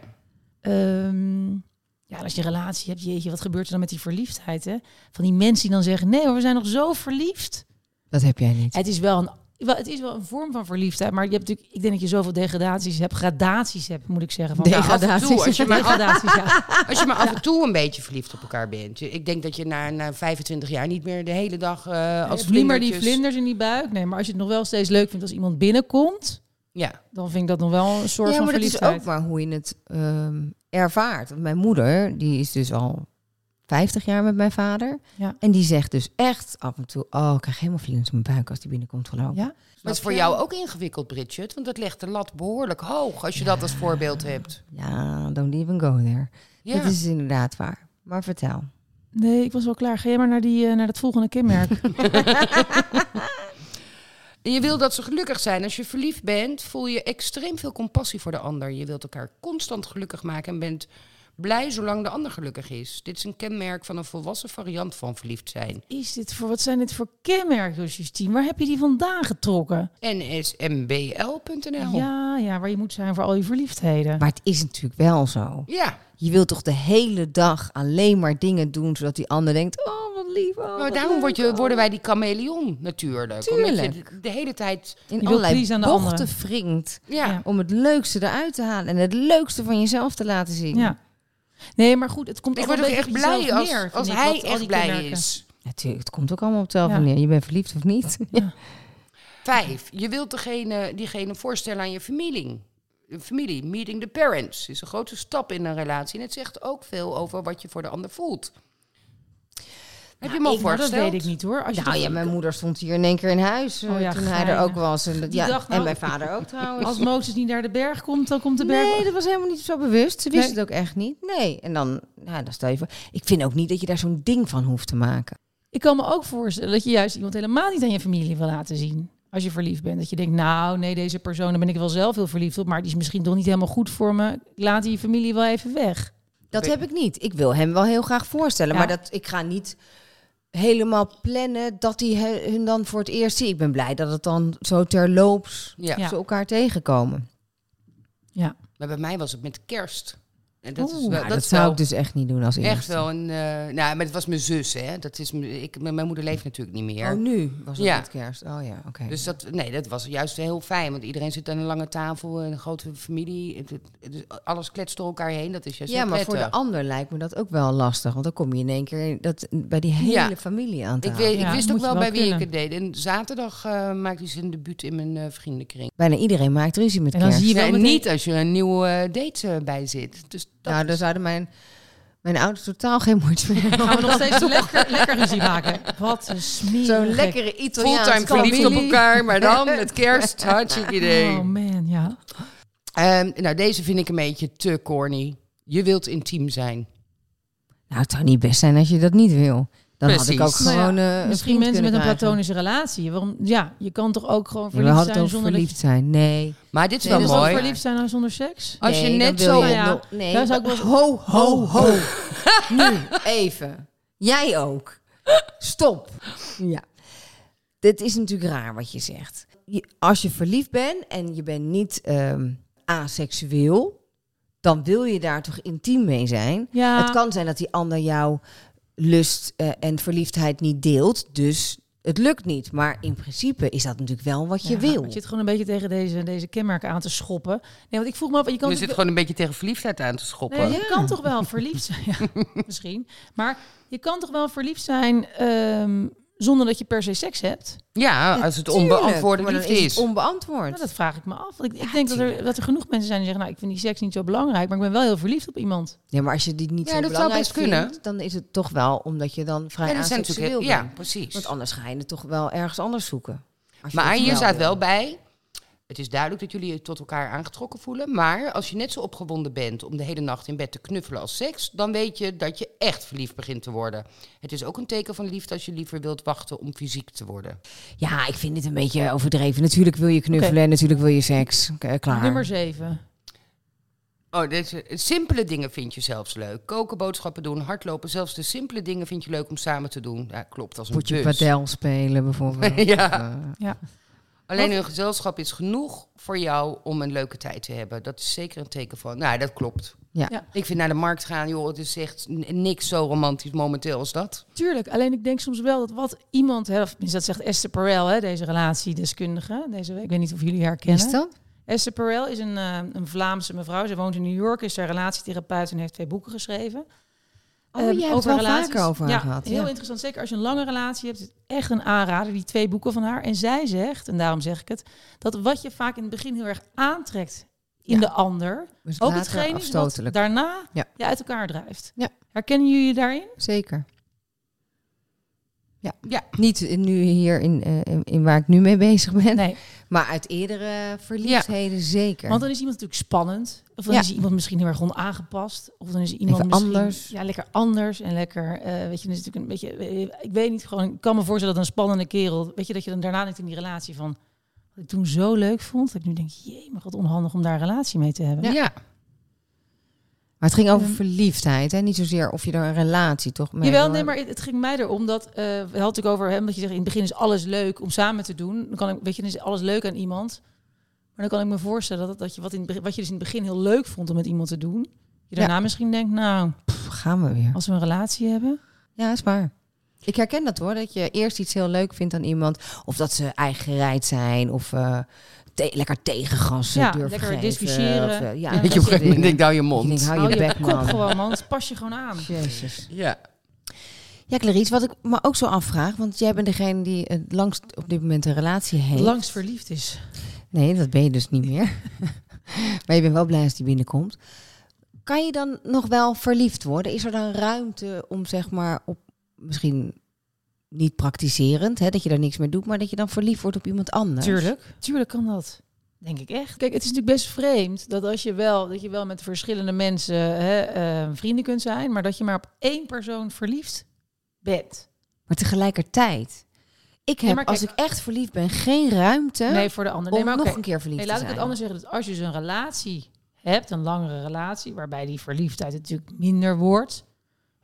[SPEAKER 3] Ehm, ja, en als je een relatie hebt, jeetje, wat gebeurt er dan met die verliefdheid? Hè? Van die mensen die dan zeggen, nee, maar we zijn nog zo verliefd.
[SPEAKER 5] Dat heb jij niet.
[SPEAKER 3] Het is wel een, wel, het is wel een vorm van verliefdheid, maar je hebt natuurlijk, ik denk dat je zoveel degradaties hebt, gradaties hebt, moet ik zeggen. Van
[SPEAKER 5] Deg-
[SPEAKER 4] Nou, af en toe, als je maar
[SPEAKER 3] degradaties, ja.
[SPEAKER 4] Als je maar af en toe een beetje verliefd op elkaar bent. Ik denk dat je na, na 25 jaar niet meer de hele dag eh als
[SPEAKER 3] Als vlimmer die
[SPEAKER 4] vlindertjes-
[SPEAKER 3] vlinders in die buik. Nee, maar als je het nog wel steeds leuk vindt als iemand binnenkomt,
[SPEAKER 4] Ja.
[SPEAKER 3] dan vind ik dat nog wel een soort
[SPEAKER 5] ja,
[SPEAKER 3] van
[SPEAKER 5] maar dat is
[SPEAKER 3] verliefdheid.
[SPEAKER 5] ook maar hoe je het ehm, ervaart. Want mijn moeder, die is dus al 50 jaar met mijn vader.
[SPEAKER 3] Ja.
[SPEAKER 5] En die zegt dus echt af en toe... Oh, ik krijg helemaal vlinders in mijn buik als die binnenkomt gelopen.
[SPEAKER 3] Ja.
[SPEAKER 4] Maar het is voor
[SPEAKER 5] je?
[SPEAKER 4] jou ook ingewikkeld, Bridget. Want dat legt de lat behoorlijk hoog als je dat als voorbeeld hebt.
[SPEAKER 5] Ja, don't even go there.
[SPEAKER 4] Ja.
[SPEAKER 5] Dat is inderdaad waar. Maar vertel.
[SPEAKER 3] Nee, ik was wel klaar. Ga jij maar naar, die, eh, naar dat volgende kenmerk.
[SPEAKER 4] En je wil dat ze gelukkig zijn. Als je verliefd bent, voel je extreem veel compassie voor de ander. Je wilt elkaar constant gelukkig maken en bent blij zolang de ander gelukkig is. Dit is een kenmerk van een volwassen variant van verliefd zijn.
[SPEAKER 3] Is dit voor, wat zijn dit voor kenmerken, Justine? Waar heb je die vandaan getrokken?
[SPEAKER 4] NSMBL.nl.
[SPEAKER 3] Ja, ja, waar je moet zijn voor al je verliefdheden.
[SPEAKER 5] Maar het is natuurlijk wel zo.
[SPEAKER 4] Ja.
[SPEAKER 5] Je wilt toch de hele dag alleen maar dingen doen... zodat die ander denkt... Oh, wat lief. Oh,
[SPEAKER 4] Maar
[SPEAKER 5] wat
[SPEAKER 4] Nou, daarom
[SPEAKER 5] leuk,
[SPEAKER 4] word je,
[SPEAKER 5] oh.
[SPEAKER 4] worden wij die chameleon natuurlijk. Omdat je
[SPEAKER 5] Tuurlijk.
[SPEAKER 4] de- de hele tijd...
[SPEAKER 5] in
[SPEAKER 3] wilt
[SPEAKER 5] allerlei
[SPEAKER 3] pleasen aan de
[SPEAKER 5] bochten
[SPEAKER 3] anderen.
[SPEAKER 5] wringt
[SPEAKER 4] Ja.
[SPEAKER 3] Ja.
[SPEAKER 5] om het leukste eruit te halen en het leukste van jezelf te laten zien.
[SPEAKER 3] Ja. Nee, maar goed, het komt
[SPEAKER 4] Ik
[SPEAKER 3] ook
[SPEAKER 4] word
[SPEAKER 3] wel
[SPEAKER 4] ook
[SPEAKER 3] een
[SPEAKER 4] echt
[SPEAKER 3] beetje op
[SPEAKER 4] blij
[SPEAKER 3] jezelf
[SPEAKER 4] als,
[SPEAKER 3] neer, vind ik, wat
[SPEAKER 4] als hij
[SPEAKER 3] al
[SPEAKER 4] echt
[SPEAKER 3] die
[SPEAKER 4] blij
[SPEAKER 3] kenmerken.
[SPEAKER 4] is.
[SPEAKER 5] Natuurlijk, het komt ook allemaal op hetzelfde
[SPEAKER 3] Ja.
[SPEAKER 5] neer. Je bent verliefd of niet.
[SPEAKER 3] Ja.
[SPEAKER 4] Vijf, je wilt degene, diegene voorstellen aan je familie. Familie, meeting the parents, is een grote stap in een relatie. En het zegt ook veel over wat je voor de ander voelt. Heb je hem al
[SPEAKER 3] Maar dat
[SPEAKER 4] voorgesteld?
[SPEAKER 3] weet Ah, ik niet hoor. Als je
[SPEAKER 5] Nou
[SPEAKER 3] toch-
[SPEAKER 5] ja, mijn moeder stond hier in één keer in huis eh,
[SPEAKER 3] Oh ja,
[SPEAKER 5] toen hij er
[SPEAKER 3] geinig.
[SPEAKER 5] ook was. En, dat,
[SPEAKER 3] Die
[SPEAKER 5] ja,
[SPEAKER 3] dacht,
[SPEAKER 5] en
[SPEAKER 3] nou-
[SPEAKER 5] mijn vader ook trouwens.
[SPEAKER 3] Als Mozes niet naar de berg komt, dan komt de berg...
[SPEAKER 5] Nee, dat was helemaal niet zo bewust. Ze wist
[SPEAKER 3] Nee.
[SPEAKER 5] het ook echt niet. Nee, en dan, ja, dan stel je voor. Ik vind ook niet dat je daar zo'n ding van hoeft te maken.
[SPEAKER 3] Ik kan me ook voorstellen dat je juist iemand helemaal niet aan je familie wil laten zien. Als je verliefd bent. Dat je denkt, nou nee, deze persoon, daar ben ik wel zelf heel verliefd op. Maar die is misschien toch niet helemaal goed voor me. Ik Laat die familie wel even weg.
[SPEAKER 5] Dat heb ik niet. Ik wil hem wel heel graag voorstellen.
[SPEAKER 3] Ja.
[SPEAKER 5] Maar dat, ik ga niet helemaal plannen dat hij he- hun dan voor het eerst zie. Ik ben blij dat het dan zo terloops
[SPEAKER 4] Ja.
[SPEAKER 3] Ja.
[SPEAKER 5] ze elkaar tegenkomen.
[SPEAKER 3] Ja.
[SPEAKER 4] Maar bij mij was het met kerst. En dat is
[SPEAKER 5] Oeh,
[SPEAKER 4] wel,
[SPEAKER 5] nou, dat
[SPEAKER 4] is
[SPEAKER 5] zou
[SPEAKER 4] wel
[SPEAKER 5] ik dus echt niet doen als eerste.
[SPEAKER 4] echt wel een. eh, nou, maar het was mijn zus, hè? Dat is, m- ik, mijn mijn moeder leeft natuurlijk niet meer.
[SPEAKER 5] Oh, nu was het
[SPEAKER 4] Ja.
[SPEAKER 5] met kerst. Oh ja, oké.
[SPEAKER 4] Dus dat, nee, dat was juist heel fijn. Want iedereen zit aan een lange tafel, een grote familie. Het- het- het- alles kletst door elkaar heen. Dat is juist
[SPEAKER 5] ja,
[SPEAKER 4] heel
[SPEAKER 5] maar voor de
[SPEAKER 4] prettig.
[SPEAKER 5] ander lijkt me dat ook wel lastig. Want dan kom je in één keer dat, bij die hele
[SPEAKER 4] Ja.
[SPEAKER 5] familie aan
[SPEAKER 4] Ik,
[SPEAKER 5] tafel.
[SPEAKER 4] weet,
[SPEAKER 3] Ja,
[SPEAKER 4] ik wist
[SPEAKER 3] moet
[SPEAKER 4] ook
[SPEAKER 3] je
[SPEAKER 4] wel
[SPEAKER 3] wel
[SPEAKER 4] bij wie
[SPEAKER 3] kunnen.
[SPEAKER 4] ik het deed. En zaterdag eh, maakte hij zijn debuut in mijn eh, vriendenkring.
[SPEAKER 5] Bijna iedereen maakt ruzie met
[SPEAKER 3] En dan
[SPEAKER 5] kerst.
[SPEAKER 3] zie je wel
[SPEAKER 4] en
[SPEAKER 3] meteen-
[SPEAKER 4] niet als je er een nieuwe eh, date eh, bij zit. Dus dat
[SPEAKER 5] nou,
[SPEAKER 4] is-
[SPEAKER 5] dan zouden mijn, mijn ouders totaal geen moeite meer hebben.
[SPEAKER 3] Gaan we nog steeds lekker, lekker ruzie maken. Wat een smerig.
[SPEAKER 5] Zo'n lekkere Italiaanse
[SPEAKER 4] fulltime verliefd op elkaar. Maar dan met kerst, hartstikke idee.
[SPEAKER 3] Oh man, ja.
[SPEAKER 4] Ehm, nou, deze vind ik een beetje te corny. Je wilt intiem zijn.
[SPEAKER 5] Nou, het zou niet best zijn als je dat niet wil. Dan had ik
[SPEAKER 4] Precies.
[SPEAKER 5] ook
[SPEAKER 3] Nou ja,
[SPEAKER 5] gewoon eh, een
[SPEAKER 3] Misschien
[SPEAKER 5] vriend
[SPEAKER 3] mensen
[SPEAKER 5] kunnen
[SPEAKER 3] met een
[SPEAKER 5] krijgen.
[SPEAKER 3] platonische relatie. Waarom, ja, je kan toch ook gewoon
[SPEAKER 5] Ja, we
[SPEAKER 3] verliefd
[SPEAKER 5] hadden het
[SPEAKER 3] zijn zonder
[SPEAKER 5] over
[SPEAKER 3] dat
[SPEAKER 5] verliefd zijn. Nee.
[SPEAKER 4] Maar dit is
[SPEAKER 5] Nee,
[SPEAKER 4] wel
[SPEAKER 5] dat
[SPEAKER 3] je,
[SPEAKER 5] is
[SPEAKER 4] mooi.
[SPEAKER 5] wel
[SPEAKER 3] verliefd zijn nou zonder seks.
[SPEAKER 4] Als je
[SPEAKER 5] Nee, dan
[SPEAKER 4] net
[SPEAKER 5] Oh, wil
[SPEAKER 4] zo...
[SPEAKER 5] je
[SPEAKER 3] Ja,
[SPEAKER 5] nog- nee,
[SPEAKER 3] daar zou ik Oh. wel eens-
[SPEAKER 5] ho, ho, ho. nu, even. Jij ook. Stop. Ja. Dit is natuurlijk raar wat je zegt. Je- als je verliefd bent en je bent niet ehm, aseksueel, dan wil je daar toch intiem mee zijn.
[SPEAKER 3] Ja.
[SPEAKER 5] Het kan zijn dat die ander jouw lust eh, en verliefdheid niet deelt, dus het lukt niet. Maar in principe is dat natuurlijk wel wat je
[SPEAKER 3] Ja, maar
[SPEAKER 5] wil.
[SPEAKER 3] Je zit gewoon een beetje tegen deze, deze kenmerken aan te schoppen. Nee, want ik vroeg me af, je kan
[SPEAKER 4] Je
[SPEAKER 3] toch
[SPEAKER 4] zit gewoon een beetje tegen verliefdheid aan te schoppen.
[SPEAKER 3] Nee, je kan toch wel verliefd zijn. Ja, misschien. Maar je kan toch wel verliefd zijn ehm, zonder dat je per se seks hebt?
[SPEAKER 4] Ja, als het
[SPEAKER 5] Tuurlijk,
[SPEAKER 4] onbeantwoorde
[SPEAKER 5] maar dan
[SPEAKER 4] liefde
[SPEAKER 5] is
[SPEAKER 4] is.
[SPEAKER 5] het onbeantwoord.
[SPEAKER 3] Nou, dat vraag ik me af. Want ik, ik denk dat er, dat er genoeg mensen zijn die zeggen... nou, ik vind die seks niet zo belangrijk... maar ik ben wel heel verliefd op iemand.
[SPEAKER 5] Ja, maar als je die niet
[SPEAKER 4] Ja,
[SPEAKER 5] zo
[SPEAKER 4] dat zou
[SPEAKER 5] belangrijk
[SPEAKER 4] best kunnen.
[SPEAKER 5] vindt, dan is het toch wel omdat je dan vrij
[SPEAKER 4] Ja, dat zijn
[SPEAKER 5] aseksueel
[SPEAKER 4] natuurlijk-
[SPEAKER 5] bent.
[SPEAKER 4] ja, precies.
[SPEAKER 5] Want anders ga je het toch wel ergens anders zoeken. Als je
[SPEAKER 4] Maar
[SPEAKER 5] het
[SPEAKER 4] hier staat
[SPEAKER 5] wil.
[SPEAKER 4] wel bij. Het is duidelijk dat jullie je tot elkaar aangetrokken voelen. Maar als je net zo opgewonden bent om de hele nacht in bed te knuffelen als seks, dan weet je dat je echt verliefd begint te worden. Het is ook een teken van liefde als je liever wilt wachten om fysiek te worden.
[SPEAKER 5] Ja, ik vind dit een beetje overdreven. Natuurlijk wil je knuffelen
[SPEAKER 3] Oké.
[SPEAKER 5] en natuurlijk wil je seks. K- eh, klaar.
[SPEAKER 3] Nummer 7.
[SPEAKER 4] Oh, deze simpele dingen vind je zelfs leuk. Koken, boodschappen doen, hardlopen. Zelfs de simpele dingen vind je leuk om samen te doen. Ja, klopt, als een
[SPEAKER 5] Potje
[SPEAKER 4] bus.
[SPEAKER 5] padel spelen bijvoorbeeld.
[SPEAKER 4] Ja.
[SPEAKER 5] Eh,
[SPEAKER 4] Alleen een gezelschap is genoeg voor jou om een leuke tijd te hebben. Dat is zeker een teken van. Nou, dat klopt.
[SPEAKER 5] Ja.
[SPEAKER 3] Ja.
[SPEAKER 4] Ik vind naar de markt gaan, joh, het is echt n- niks zo romantisch momenteel als dat.
[SPEAKER 3] Tuurlijk, alleen ik denk soms wel dat wat iemand... Hè, of tenminste, dat zegt Esther Perel, hè, deze relatiedeskundige... deze week, ik weet niet of jullie haar kennen.
[SPEAKER 5] Is dat?
[SPEAKER 3] Esther Perel is een, eh, een Vlaamse mevrouw. Ze woont in New York, is daar relatietherapeut en heeft twee boeken geschreven.
[SPEAKER 5] Oh,
[SPEAKER 3] Ehm,
[SPEAKER 5] jij hebt het wel
[SPEAKER 3] relaties.
[SPEAKER 5] vaker over haar
[SPEAKER 3] ja,
[SPEAKER 5] gehad.
[SPEAKER 3] Heel
[SPEAKER 5] Ja.
[SPEAKER 3] interessant, zeker als je een lange relatie hebt. is het Echt een aanrader, die twee boeken van haar. En zij zegt, en daarom zeg ik het, dat wat je vaak in het begin heel erg aantrekt in
[SPEAKER 5] Ja.
[SPEAKER 3] de ander,
[SPEAKER 5] Dus
[SPEAKER 3] ook
[SPEAKER 5] later
[SPEAKER 3] hetgeen is wat
[SPEAKER 5] afstotelijk.
[SPEAKER 3] daarna
[SPEAKER 5] Ja.
[SPEAKER 3] je uit elkaar drijft.
[SPEAKER 5] Ja.
[SPEAKER 3] Herkennen jullie je daarin?
[SPEAKER 5] Zeker. Ja.
[SPEAKER 4] Ja.
[SPEAKER 5] Niet eh, nu hier in, eh, in- in waar ik nu mee bezig ben.
[SPEAKER 3] Nee.
[SPEAKER 5] Maar uit eerdere verliefdheden zeker.
[SPEAKER 3] Want dan is iemand natuurlijk spannend. Of dan
[SPEAKER 5] Ja.
[SPEAKER 3] is iemand misschien heel erg onaangepast. Of dan is iemand
[SPEAKER 5] Even
[SPEAKER 3] misschien-
[SPEAKER 5] anders.
[SPEAKER 3] Ja, lekker anders. En lekker, eh, weet je, dan is het natuurlijk een beetje... eh, Ik weet niet, gewoon, ik kan me voorstellen dat een spannende kerel... Weet je, dat je dan daarna denkt in die relatie van... Wat ik toen zo leuk vond, dat ik nu denk... Jee, maar wat onhandig om daar een relatie mee te hebben.
[SPEAKER 5] Ja. Maar het ging over
[SPEAKER 3] Ehm.
[SPEAKER 5] verliefdheid, hè? Niet zozeer of je er een relatie toch mee
[SPEAKER 3] Jawel,
[SPEAKER 5] wil
[SPEAKER 3] nee,
[SPEAKER 5] hebben.
[SPEAKER 3] maar het, het ging mij erom dat... eh we hadden het ook over hem, dat je zegt... In het begin is alles leuk om samen te doen. Dan kan ik, weet je, dan is alles leuk aan iemand. Maar dan kan ik me voorstellen dat, dat je wat, in, het begin- wat je dus in het begin heel leuk vond om met iemand te doen... Je
[SPEAKER 5] Ja.
[SPEAKER 3] daarna misschien denkt, nou,
[SPEAKER 5] Pff, gaan we weer.
[SPEAKER 3] als we een relatie hebben...
[SPEAKER 5] Ja, is waar. Ik herken dat hoor, dat je eerst iets heel leuk vindt aan iemand. Of dat ze eigenrijd zijn, of eh, te- lekker tegengas eh,
[SPEAKER 3] Ja,
[SPEAKER 5] durven
[SPEAKER 3] lekker
[SPEAKER 5] geven,
[SPEAKER 3] discussiëren.
[SPEAKER 5] of, eh, ja,
[SPEAKER 3] Ja.
[SPEAKER 5] dat
[SPEAKER 4] Weet je, op een
[SPEAKER 5] soort
[SPEAKER 4] gegeven moment
[SPEAKER 5] dingen.
[SPEAKER 4] denk ik, nou je
[SPEAKER 5] Ik denk,
[SPEAKER 4] mond.
[SPEAKER 5] hou je
[SPEAKER 3] Hou je
[SPEAKER 5] bek
[SPEAKER 3] kop
[SPEAKER 5] man.
[SPEAKER 3] gewoon, man. Dus Pas je gewoon aan.
[SPEAKER 5] Jezus.
[SPEAKER 4] Ja.
[SPEAKER 5] Ja, Clarice, wat ik me ook zo afvraag, want jij bent degene die het langst op dit moment een relatie heeft.
[SPEAKER 3] Langs verliefd is.
[SPEAKER 5] Nee, dat ben je dus niet meer. maar je bent wel blij als die binnenkomt. Kan je dan nog wel verliefd worden? Is er dan ruimte om zeg maar op misschien niet praktiserend, hè, dat je daar niks mee doet, maar dat je dan verliefd wordt op iemand anders?
[SPEAKER 3] Tuurlijk kan dat. Denk ik echt. Kijk, het is natuurlijk best vreemd dat als je wel, dat je wel met verschillende mensen hè, eh, vrienden kunt zijn, maar dat je maar op één persoon verliefd bent.
[SPEAKER 5] Maar tegelijkertijd, ik heb
[SPEAKER 3] maar kijk-
[SPEAKER 5] als ik echt verliefd ben geen ruimte
[SPEAKER 3] Nee, voor de ander.
[SPEAKER 5] om
[SPEAKER 3] Nee, maar
[SPEAKER 5] nog
[SPEAKER 3] oké.
[SPEAKER 5] een keer verliefd
[SPEAKER 3] Nee, laat
[SPEAKER 5] te
[SPEAKER 3] ik het
[SPEAKER 5] zijn.
[SPEAKER 3] anders zeggen. Dat als je dus een relatie hebt, een langere relatie, waarbij die verliefdheid natuurlijk minder wordt.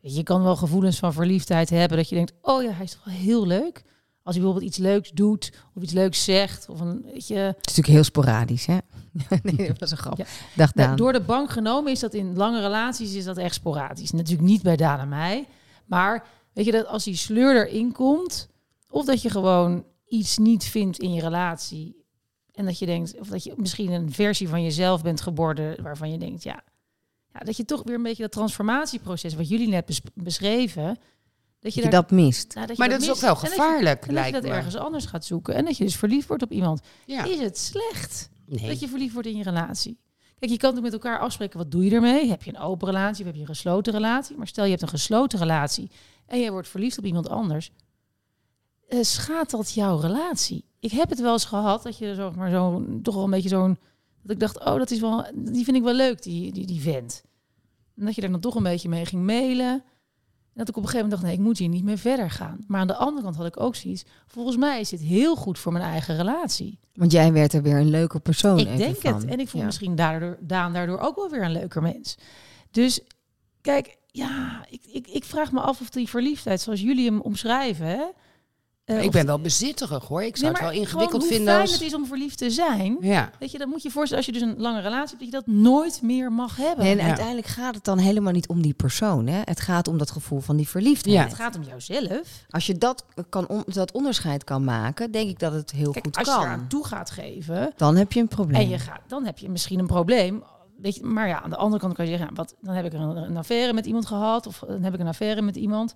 [SPEAKER 3] Weet Je je kan wel gevoelens van verliefdheid hebben dat je denkt, oh ja, hij is toch wel heel leuk. Als hij bijvoorbeeld iets leuks doet of iets leuks zegt of een, weet je,
[SPEAKER 5] Het is natuurlijk heel sporadisch, hè? nee, dat was een grap.
[SPEAKER 3] Ja.
[SPEAKER 5] Dag
[SPEAKER 3] Ja,
[SPEAKER 5] Daan.
[SPEAKER 3] door de bank genomen is dat in lange relaties is dat echt sporadisch. Natuurlijk niet bij Daan en mij. Maar weet je dat als die sleur erin komt, of dat je gewoon iets niet vindt in je relatie. En dat je denkt, of dat je misschien een versie van jezelf bent geworden waarvan je denkt, ja, ja dat je toch weer een beetje dat transformatieproces wat jullie net bes- beschreven. Dat je,
[SPEAKER 5] dat je
[SPEAKER 3] daar
[SPEAKER 5] dat mist.
[SPEAKER 3] nou, dat je
[SPEAKER 4] Maar dat is
[SPEAKER 3] mist.
[SPEAKER 4] ook wel
[SPEAKER 3] En dat je-
[SPEAKER 4] gevaarlijk,
[SPEAKER 3] en dat je
[SPEAKER 4] lijkt
[SPEAKER 3] dat
[SPEAKER 4] me.
[SPEAKER 3] ergens anders gaat zoeken. En dat je dus verliefd wordt op iemand.
[SPEAKER 4] Ja.
[SPEAKER 3] Is het slecht?
[SPEAKER 4] Nee.
[SPEAKER 3] Dat je verliefd wordt in je relatie. Kijk, je kan natuurlijk met elkaar afspreken, wat doe je ermee? Heb je een open relatie of heb je een gesloten relatie? Maar stel je hebt een gesloten relatie en je wordt verliefd op iemand anders. eh, schaadt dat jouw relatie? Ik heb het wel eens gehad dat je zeg maar, zo'n toch wel een beetje zo'n... Dat ik dacht, oh, dat is wel, die vind ik wel leuk, die, die, die vent. En dat je daar dan toch een beetje mee ging mailen. En dat ik op een gegeven moment dacht, nee, ik moet hier niet meer verder gaan. Maar aan de andere kant had ik ook zoiets. Volgens mij is dit heel goed voor mijn eigen relatie.
[SPEAKER 5] Want jij werd er weer een leuke
[SPEAKER 4] Oh,
[SPEAKER 5] persoon
[SPEAKER 3] Ik
[SPEAKER 5] even
[SPEAKER 3] denk
[SPEAKER 5] van.
[SPEAKER 3] het. En ik voel
[SPEAKER 5] Ja.
[SPEAKER 3] misschien daardoor, Daan daardoor ook wel weer een leuker mens. Dus kijk, ja, ik, ik, ik vraag me af of die verliefdheid, zoals jullie hem omschrijven... Hè, eh,
[SPEAKER 4] ik
[SPEAKER 3] of-
[SPEAKER 4] ben wel bezitterig hoor. Ik zou
[SPEAKER 3] Nee, maar
[SPEAKER 4] het wel
[SPEAKER 3] gewoon
[SPEAKER 4] ingewikkeld
[SPEAKER 3] hoe
[SPEAKER 4] vinden
[SPEAKER 3] fijn
[SPEAKER 4] als...
[SPEAKER 3] het is om verliefd te zijn.
[SPEAKER 4] Ja.
[SPEAKER 3] Weet je, dan moet je voorstellen, als je dus een lange relatie hebt, dat je dat nooit meer mag hebben.
[SPEAKER 5] En
[SPEAKER 4] Ja.
[SPEAKER 5] uiteindelijk gaat het dan helemaal niet om die persoon. Hè? Het gaat om dat gevoel van die verliefdheid.
[SPEAKER 4] Ja.
[SPEAKER 3] het gaat om jouzelf.
[SPEAKER 5] Als je dat, kan on- dat onderscheid kan maken, denk ik dat het heel
[SPEAKER 3] Kijk,
[SPEAKER 5] goed
[SPEAKER 3] als je eraan
[SPEAKER 5] kan.
[SPEAKER 3] toe gaat geven,
[SPEAKER 5] Dan heb je een probleem.
[SPEAKER 3] En je gaat, dan heb je misschien een probleem. Weet je, maar ja, aan de andere kant kan je zeggen, ja, wat, dan heb ik een, een affaire met iemand gehad. Of dan heb ik een affaire met iemand.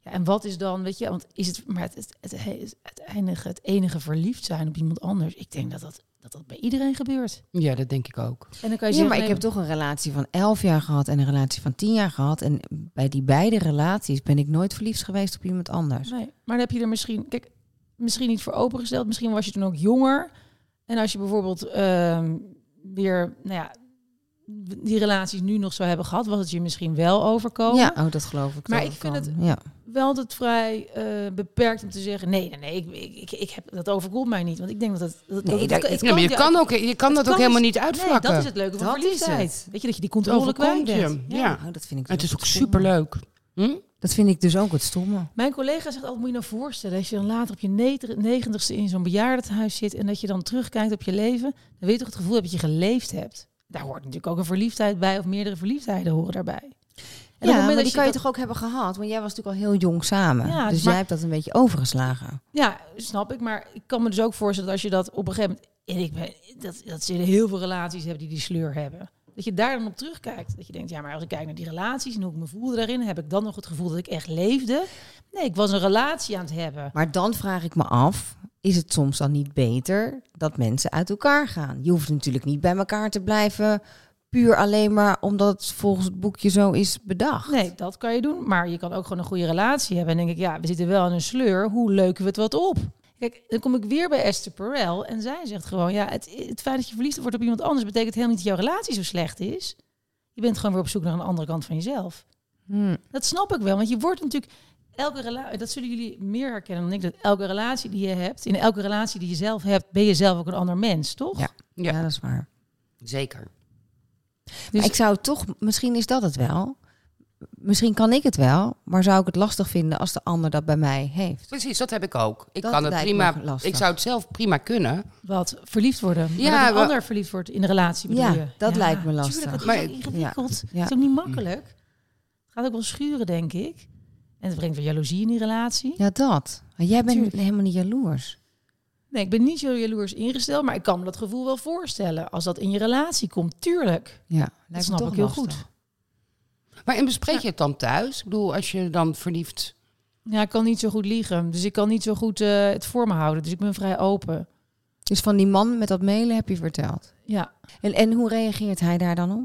[SPEAKER 3] Ja, en wat is dan, weet je, want is het, maar het, het, het, het, enige, het enige verliefd zijn op iemand anders. Ik denk dat dat, dat, dat bij iedereen gebeurt.
[SPEAKER 4] ja, dat denk ik ook.
[SPEAKER 3] En dan kan je
[SPEAKER 5] ja,
[SPEAKER 3] zeggen,
[SPEAKER 5] maar ik
[SPEAKER 3] nee,
[SPEAKER 5] heb toch een relatie van 11 jaar gehad en een relatie van 10 jaar gehad. En bij die beide relaties ben ik nooit verliefd geweest op iemand anders.
[SPEAKER 3] Nee, maar dan heb je er misschien, kijk, misschien niet voor opengesteld. Misschien was je toen ook jonger. En als je bijvoorbeeld ehm, weer, nou ja, die relaties nu nog zou hebben gehad, was het je misschien wel overkomen.
[SPEAKER 5] Ja, oh, dat geloof ik.
[SPEAKER 3] Maar
[SPEAKER 5] dat
[SPEAKER 3] ik vind
[SPEAKER 5] kan.
[SPEAKER 3] het-
[SPEAKER 5] Ja.
[SPEAKER 3] wel altijd vrij eh, beperkt om te zeggen: nee, nee, nee, ik, ik, ik, ik heb, dat overkomt mij niet. Want ik denk dat het. Dat,
[SPEAKER 5] Nee,
[SPEAKER 3] dat-
[SPEAKER 5] dat-
[SPEAKER 3] het
[SPEAKER 4] Ja, maar je
[SPEAKER 3] die-
[SPEAKER 4] kan, ook, je kan dat
[SPEAKER 3] kan
[SPEAKER 4] ook helemaal
[SPEAKER 3] dus-
[SPEAKER 4] niet
[SPEAKER 3] Nee,
[SPEAKER 4] uitvlakken.
[SPEAKER 3] dat is het leuke van
[SPEAKER 5] Dat is
[SPEAKER 3] verliefdheid.
[SPEAKER 5] het.
[SPEAKER 3] Weet je, dat je die
[SPEAKER 4] Het
[SPEAKER 3] controle kwijt
[SPEAKER 4] overkomt
[SPEAKER 3] bent.
[SPEAKER 4] je. Ja.
[SPEAKER 5] Oh, dat vind ik
[SPEAKER 4] En het
[SPEAKER 5] dus
[SPEAKER 4] is
[SPEAKER 5] ook
[SPEAKER 4] ook
[SPEAKER 5] het stomme.
[SPEAKER 4] superleuk. Hm?
[SPEAKER 5] Dat vind ik dus ook het stomme.
[SPEAKER 3] Mijn collega zegt altijd, moet je nou voorstellen... als je dan later op je neder- negentigste in zo'n bejaardentehuis zit... en dat je dan terugkijkt op je leven... dan weet je toch het gevoel dat je geleefd hebt. Daar hoort natuurlijk ook een verliefdheid bij... of meerdere verliefdheden horen daarbij. En
[SPEAKER 5] ja, maar die
[SPEAKER 3] dat
[SPEAKER 5] kan je
[SPEAKER 3] dat-
[SPEAKER 5] toch ook hebben gehad? Want jij was natuurlijk al heel jong samen.
[SPEAKER 3] Ja,
[SPEAKER 5] dus
[SPEAKER 3] maar-
[SPEAKER 5] jij hebt dat een beetje overgeslagen.
[SPEAKER 3] Ja, snap ik. Maar ik kan me dus ook voorstellen dat als je dat op een gegeven moment... En ik ben, dat, dat ze heel veel relaties hebben die die sleur hebben. Dat je daar dan op terugkijkt. Dat je denkt, ja, maar als ik kijk naar die relaties en hoe ik me voelde daarin... heb ik dan nog het gevoel dat ik echt leefde? Nee, ik was een relatie aan het hebben.
[SPEAKER 5] Maar dan vraag ik me af, is het soms dan niet beter dat mensen uit elkaar gaan? Je hoeft natuurlijk niet bij elkaar te blijven, puur alleen maar omdat het volgens het boekje zo is bedacht.
[SPEAKER 3] Nee, dat kan je doen. Maar je kan ook gewoon een goede relatie hebben. En denk ik, ja, we zitten wel in een sleur. Hoe leuken we het wat op? Kijk, dan kom ik weer bij Esther Perel. En zij zegt gewoon, ja, het, het feit dat je verliefd wordt op iemand anders... betekent helemaal niet dat jouw relatie zo slecht is. Je bent gewoon weer op zoek naar een andere kant van jezelf.
[SPEAKER 5] Hmm.
[SPEAKER 3] Dat snap ik wel, want je wordt natuurlijk elke relatie, dat zullen jullie meer herkennen dan ik, dat elke relatie die je hebt, in elke relatie die je zelf hebt, ben je zelf ook een ander mens, toch?
[SPEAKER 5] Ja. Ja.
[SPEAKER 4] Ja.
[SPEAKER 5] dat is waar.
[SPEAKER 4] Zeker.
[SPEAKER 3] Dus-
[SPEAKER 5] Maar ik zou toch, misschien is dat het wel. Misschien kan ik het wel, maar zou ik het lastig vinden als de ander dat bij mij heeft.
[SPEAKER 4] Precies, dat heb ik ook. Ik
[SPEAKER 5] Dat
[SPEAKER 4] kan het
[SPEAKER 5] lijkt me
[SPEAKER 4] prima.
[SPEAKER 5] lastig.
[SPEAKER 4] Ik zou het zelf prima kunnen.
[SPEAKER 3] Wat verliefd worden.
[SPEAKER 4] Ja,
[SPEAKER 3] Ja, dat een
[SPEAKER 4] wel-
[SPEAKER 3] ander verliefd wordt in de relatie bedoel
[SPEAKER 5] Ja,
[SPEAKER 3] je.
[SPEAKER 5] dat lijkt me lastig.
[SPEAKER 3] Tuurlijk, dat
[SPEAKER 4] Maar-
[SPEAKER 3] is ook ingewikkeld.
[SPEAKER 5] Ja.
[SPEAKER 3] Dat is ook niet makkelijk. Het gaat ook wel schuren, denk ik. En het brengt weer jaloezie in die relatie.
[SPEAKER 5] Ja, dat. Maar jij bent
[SPEAKER 3] Tuurlijk.
[SPEAKER 5] helemaal niet jaloers.
[SPEAKER 3] Nee, ik ben niet zo jaloers ingesteld, maar ik kan me dat gevoel wel voorstellen. Als dat in je relatie komt, tuurlijk.
[SPEAKER 5] Ja, lijkt me
[SPEAKER 3] snap
[SPEAKER 5] toch
[SPEAKER 3] ik heel
[SPEAKER 5] lastig.
[SPEAKER 3] goed.
[SPEAKER 4] Maar en bespreek je het dan thuis? Ik bedoel, als je dan verliefd...
[SPEAKER 3] Ja, ik kan niet zo goed liegen. Dus ik kan niet zo goed eh, het voor me houden. Dus ik ben vrij open.
[SPEAKER 5] Dus van die man met dat mailen heb je verteld.
[SPEAKER 3] Ja,
[SPEAKER 5] En, en hoe reageert hij daar dan op?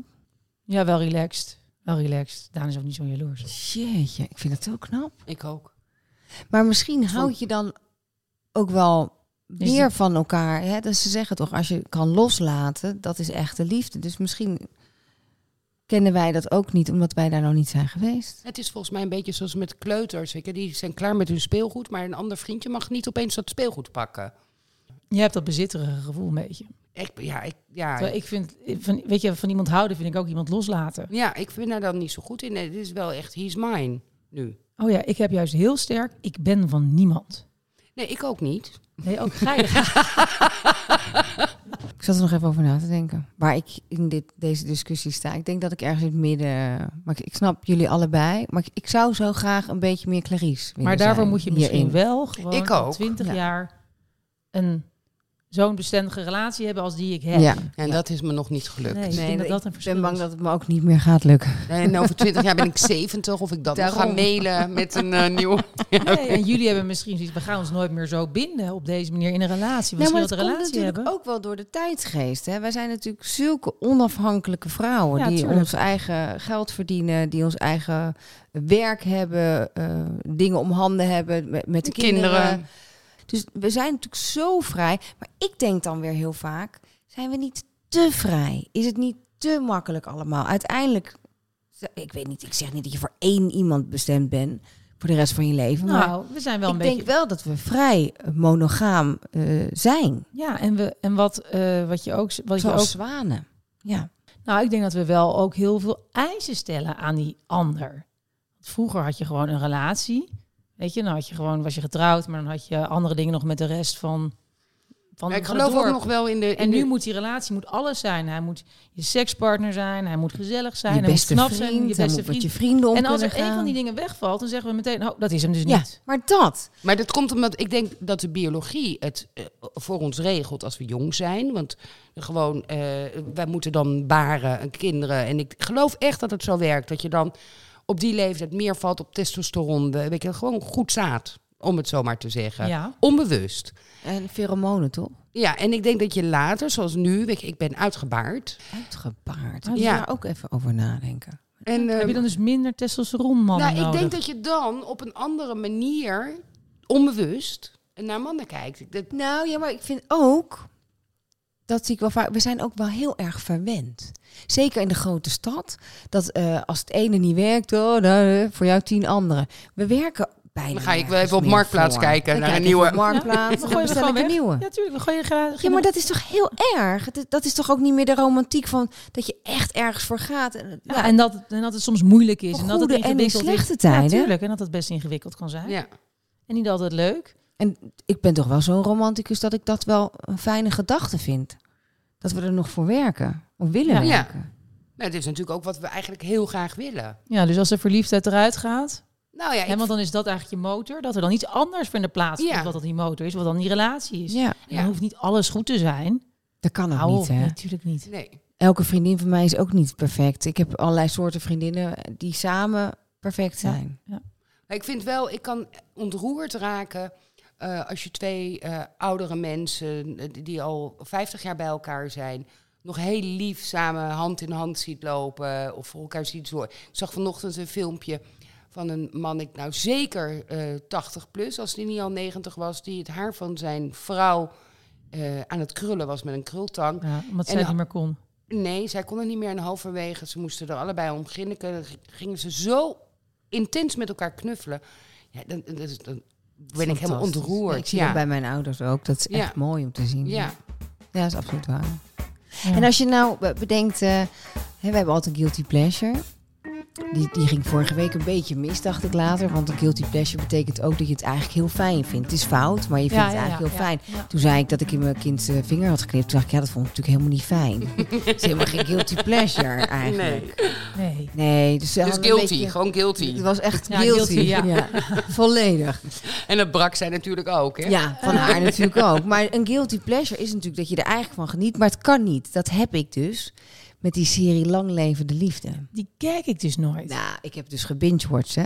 [SPEAKER 3] ja wel relaxed. Wel relaxed. Daan is ook niet zo jaloers.
[SPEAKER 5] Jeetje, ik vind dat heel knap.
[SPEAKER 4] Ik ook.
[SPEAKER 5] Maar misschien houd je dan ook wel
[SPEAKER 3] Dus
[SPEAKER 5] meer van elkaar. Hè? Dus ze zeggen toch, als je kan loslaten, dat is echte liefde. Dus misschien kennen wij dat ook niet, omdat wij daar nog niet zijn geweest.
[SPEAKER 4] Het is volgens mij een beetje zoals met kleuters. Weet je? Die zijn klaar met hun speelgoed, maar een ander vriendje mag niet opeens dat speelgoed pakken.
[SPEAKER 3] Je hebt dat bezitterige gevoel een beetje.
[SPEAKER 4] Ik, ja, ik, ja,
[SPEAKER 3] Terwijl ik vind, van, weet je, van iemand houden vind ik ook iemand loslaten.
[SPEAKER 4] ja, ik ben daar dan niet zo goed in. Nee, Dit is wel echt, he's mine nu.
[SPEAKER 3] Oh ja, ik heb juist heel sterk, ik ben van niemand.
[SPEAKER 4] Nee, ik ook niet.
[SPEAKER 3] Nee, ook geinig.
[SPEAKER 5] Ik zat er nog even over na te denken. Waar ik in dit, deze discussie sta. Ik denk dat ik ergens in het midden. Maar ik, ik snap jullie allebei. Maar ik, ik zou zo graag een beetje meer Clarice willen
[SPEAKER 3] maar daarvoor
[SPEAKER 5] zijn
[SPEAKER 3] moet je misschien
[SPEAKER 5] hierin.
[SPEAKER 3] wel gewoon
[SPEAKER 4] Ik ook,
[SPEAKER 3] 20
[SPEAKER 5] ja.
[SPEAKER 3] jaar een zo'n bestendige relatie hebben als die ik heb.
[SPEAKER 5] Ja.
[SPEAKER 4] En dat is me nog niet gelukt.
[SPEAKER 3] Nee, Dus ik
[SPEAKER 5] Nee,
[SPEAKER 3] denk dat
[SPEAKER 5] ik
[SPEAKER 3] dat een verschil
[SPEAKER 5] ben bang
[SPEAKER 3] is.
[SPEAKER 5] dat het me ook niet meer gaat lukken.
[SPEAKER 4] En over twintig jaar ben ik zeventig of ik dat nog ga
[SPEAKER 5] Daarom.
[SPEAKER 4] mailen met een eh, nieuw...
[SPEAKER 3] Nee, en jullie hebben misschien zoiets, we gaan ons nooit meer zo binden op deze manier in een relatie. We zullen
[SPEAKER 5] Nou, maar
[SPEAKER 3] dat
[SPEAKER 5] dat
[SPEAKER 3] een
[SPEAKER 5] komt
[SPEAKER 3] relatie
[SPEAKER 5] natuurlijk
[SPEAKER 3] hebben.
[SPEAKER 5] ook wel door de tijdsgeest. Hè? Wij zijn natuurlijk zulke onafhankelijke vrouwen
[SPEAKER 3] Ja,
[SPEAKER 5] die
[SPEAKER 3] tuurlijk.
[SPEAKER 5] ons eigen geld verdienen, die ons eigen werk hebben, eh, dingen om handen hebben met, met de kinderen.
[SPEAKER 4] Kinderen.
[SPEAKER 5] Dus we zijn natuurlijk zo vrij. Maar ik denk dan weer heel vaak, zijn we niet te vrij? Is het niet te makkelijk allemaal? Uiteindelijk, ik weet niet, ik zeg niet dat je voor één iemand bestemd bent voor de rest van je leven. maar
[SPEAKER 3] Nou, we zijn wel een
[SPEAKER 5] ik
[SPEAKER 3] beetje...
[SPEAKER 5] denk wel dat we vrij eh, monogaam eh, zijn.
[SPEAKER 3] Ja, en, we, en wat, eh, wat je ook... Wat je
[SPEAKER 5] Zoals
[SPEAKER 3] ook
[SPEAKER 5] zwanen. Ja.
[SPEAKER 3] Nou, ik denk dat we wel ook heel veel eisen stellen aan die ander. Vroeger had je gewoon een relatie. Weet je, dan had je gewoon, was je getrouwd, maar dan had je andere dingen nog met de rest van. van
[SPEAKER 4] Ja, ik
[SPEAKER 3] van
[SPEAKER 4] geloof
[SPEAKER 3] het
[SPEAKER 4] ook
[SPEAKER 3] dorp.
[SPEAKER 4] nog wel in de... in
[SPEAKER 3] En nu
[SPEAKER 4] de-
[SPEAKER 3] moet die relatie moet alles zijn. Hij moet je sekspartner zijn, hij moet gezellig zijn,
[SPEAKER 5] Je
[SPEAKER 3] hij moet
[SPEAKER 5] beste
[SPEAKER 3] knap
[SPEAKER 5] vriend,
[SPEAKER 3] zijn, je
[SPEAKER 5] hij
[SPEAKER 3] beste
[SPEAKER 5] moet met
[SPEAKER 3] vriend.
[SPEAKER 5] je vrienden om
[SPEAKER 3] En als er
[SPEAKER 5] kunnen
[SPEAKER 3] een van
[SPEAKER 5] gaan.
[SPEAKER 3] die dingen wegvalt, dan zeggen we meteen, nou, dat is hem dus
[SPEAKER 5] Ja,
[SPEAKER 3] niet.
[SPEAKER 5] maar dat.
[SPEAKER 4] Maar dat komt omdat ik denk dat de biologie het eh, voor ons regelt als we jong zijn. Want gewoon, eh, wij moeten dan baren en kinderen. En ik geloof echt dat het zo werkt. Dat je dan op die leeftijd meer valt op testosteron. eh, Weet je, gewoon goed zaad, om het zo maar te zeggen.
[SPEAKER 3] Ja.
[SPEAKER 4] Onbewust.
[SPEAKER 5] En pheromonen, toch?
[SPEAKER 4] Ja, en ik denk dat je later, zoals nu, weet je, ik ben uitgebaard.
[SPEAKER 5] Uitgebaard.
[SPEAKER 4] Ja.
[SPEAKER 5] Moet je daar ook even over nadenken.
[SPEAKER 4] En,
[SPEAKER 3] Heb
[SPEAKER 5] ehm,
[SPEAKER 3] je
[SPEAKER 4] eh,
[SPEAKER 3] dan dus minder testosteron mannen
[SPEAKER 4] nou, ik
[SPEAKER 3] nodig?
[SPEAKER 4] denk dat je dan op een andere manier, onbewust, naar mannen kijkt. Dat,
[SPEAKER 5] Nou ja, maar ik vind ook... Dat zie ik wel vaak. We zijn ook wel heel erg verwend. Zeker in de grote stad. Dat eh, als het ene niet werkt, oh, nou, eh, voor jou tien anderen. We werken bijna.
[SPEAKER 4] Dan ga ik wel
[SPEAKER 5] nergens
[SPEAKER 4] even op
[SPEAKER 5] meer
[SPEAKER 4] Marktplaats
[SPEAKER 5] voor.
[SPEAKER 4] kijken
[SPEAKER 5] Dan
[SPEAKER 4] naar
[SPEAKER 5] kijk
[SPEAKER 4] een
[SPEAKER 5] ik op
[SPEAKER 4] nieuwe.
[SPEAKER 5] Marktplaats.
[SPEAKER 3] Ja,
[SPEAKER 5] dan
[SPEAKER 3] we gooien
[SPEAKER 5] bestel
[SPEAKER 3] gewoon
[SPEAKER 5] ik een
[SPEAKER 3] weg.
[SPEAKER 5] nieuwe.
[SPEAKER 3] Ja, tuurlijk. We gooien graag.
[SPEAKER 5] Ja, maar dat is toch heel erg? Het is- Dat is toch ook niet meer de romantiek van dat je echt ergens voor gaat. En,
[SPEAKER 3] Ja, en, dat, en dat het soms moeilijk is.
[SPEAKER 5] Voor
[SPEAKER 3] en dat het
[SPEAKER 5] goede en in
[SPEAKER 3] ingewikkeld is.
[SPEAKER 5] slechte tijden.
[SPEAKER 3] Ja, tuurlijk. En dat het best ingewikkeld kan zijn.
[SPEAKER 4] ja.
[SPEAKER 3] En niet altijd leuk.
[SPEAKER 5] en ik ben toch wel zo'n romanticus dat ik dat wel een fijne gedachte vind. Dat we er nog voor werken. Of willen
[SPEAKER 4] Ja.
[SPEAKER 5] werken.
[SPEAKER 4] Nou, het is natuurlijk ook wat we eigenlijk heel graag willen.
[SPEAKER 3] Ja, dus als de verliefdheid eruit gaat.
[SPEAKER 4] Nou ja, ik-
[SPEAKER 3] Hè, want dan is dat eigenlijk je motor. Dat er dan iets anders voor in de plaats komt.
[SPEAKER 4] Ja.
[SPEAKER 3] Wat dan die motor is. Wat dan die relatie is.
[SPEAKER 5] Ja,
[SPEAKER 3] En
[SPEAKER 4] Ja.
[SPEAKER 3] dan hoeft niet alles goed te zijn.
[SPEAKER 5] Dus dat kan ook
[SPEAKER 3] Hou
[SPEAKER 5] niet.
[SPEAKER 3] op.
[SPEAKER 5] Hè?
[SPEAKER 3] Nee, natuurlijk niet.
[SPEAKER 4] nee.
[SPEAKER 5] Elke vriendin van mij is ook niet perfect. Ik heb allerlei soorten vriendinnen die samen perfect
[SPEAKER 3] Ja.
[SPEAKER 5] zijn.
[SPEAKER 4] Maar ik vind wel, ik kan ontroerd raken eh, als je twee eh, oudere mensen eh, die- die al 50 jaar bij elkaar zijn, nog heel lief samen hand in hand ziet lopen of voor elkaar ziet zorgen. Ik zag vanochtend een filmpje van een man, ik nou zeker eh 80 plus, als die niet al 90 was, die het haar van zijn vrouw eh, aan het krullen was met een krultang.
[SPEAKER 3] Ja, omdat
[SPEAKER 4] En
[SPEAKER 3] zij
[SPEAKER 4] de-
[SPEAKER 3] niet meer kon.
[SPEAKER 4] Nee, zij kon het niet meer en halverwege. Ze moesten er allebei om grinniken. Dan g- gingen ze zo intens met elkaar knuffelen. Ja, dan, dan, dan- dan ben ik helemaal
[SPEAKER 5] Fantastisch.
[SPEAKER 4] ontroerd.
[SPEAKER 5] Ik zie
[SPEAKER 4] ja.
[SPEAKER 5] dat bij mijn ouders ook. Dat is
[SPEAKER 4] Ja.
[SPEAKER 5] echt mooi om te zien.
[SPEAKER 4] ja.
[SPEAKER 5] Ja, dat is absoluut waar.
[SPEAKER 3] Ja.
[SPEAKER 5] En als je nou be- bedenkt, eh, hè, we hebben altijd een guilty pleasure. Die, die ging vorige week een beetje mis, dacht ik later. Want een guilty pleasure betekent ook dat je het eigenlijk heel fijn vindt. Het is fout, maar je vindt
[SPEAKER 3] Ja,
[SPEAKER 5] het
[SPEAKER 3] ja,
[SPEAKER 5] eigenlijk
[SPEAKER 3] ja,
[SPEAKER 5] heel
[SPEAKER 3] ja.
[SPEAKER 5] fijn. Toen zei ik dat ik in mijn kind eh, vinger had geknipt. Toen dacht ik, ja, dat vond ik natuurlijk helemaal niet fijn. Het is helemaal geen guilty pleasure eigenlijk. Nee,
[SPEAKER 3] Nee.
[SPEAKER 5] dus, ze
[SPEAKER 4] Dus
[SPEAKER 5] hadden een
[SPEAKER 4] guilty,
[SPEAKER 5] beetje-
[SPEAKER 4] gewoon
[SPEAKER 5] Het
[SPEAKER 4] guilty.
[SPEAKER 5] was echt
[SPEAKER 3] Ja,
[SPEAKER 5] guilty.
[SPEAKER 3] guilty, ja.
[SPEAKER 5] ja. Volledig.
[SPEAKER 4] En dat brak zij natuurlijk ook, hè?
[SPEAKER 5] Ja, van haar natuurlijk ook. Maar een guilty pleasure is natuurlijk dat je er eigenlijk van geniet. Maar het kan niet. Dat heb ik dus met die serie Lang Leven de Liefde.
[SPEAKER 4] Nou,
[SPEAKER 3] Die kijk ik dus nooit.
[SPEAKER 5] Nou, ik heb dus gebingewatcht, hè.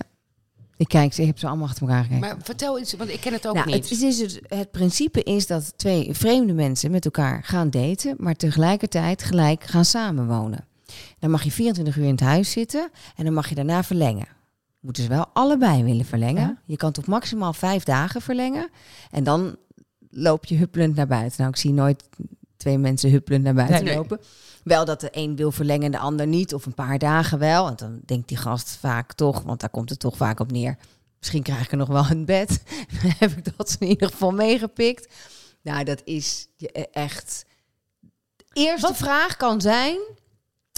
[SPEAKER 5] Ik kijk ze, ik heb ze allemaal achter elkaar gekeken.
[SPEAKER 4] Maar vertel iets, want ik ken het ook
[SPEAKER 5] nou,
[SPEAKER 4] niet.
[SPEAKER 5] het, is dus, het principe is dat twee vreemde mensen met elkaar gaan daten, maar tegelijkertijd gelijk gaan samenwonen. Dan mag je 24 uur in het huis zitten en dan mag je daarna verlengen. Moeten ze wel allebei willen verlengen.
[SPEAKER 3] Ja.
[SPEAKER 5] Je kan tot maximaal vijf dagen verlengen en dan loop je huppelend naar buiten. Nou, ik zie nooit twee mensen huppelend naar buiten
[SPEAKER 4] Nee, nee.
[SPEAKER 5] lopen. Wel dat de een wil verlengen en de ander niet, of een paar dagen wel. En dan denkt die gast vaak toch, want daar komt het toch vaak op neer. Misschien krijg ik er nog wel een bed. Dan heb ik dat in ieder geval meegepikt. Nou, dat is je- eh, echt. De eerste vraag kan zijn.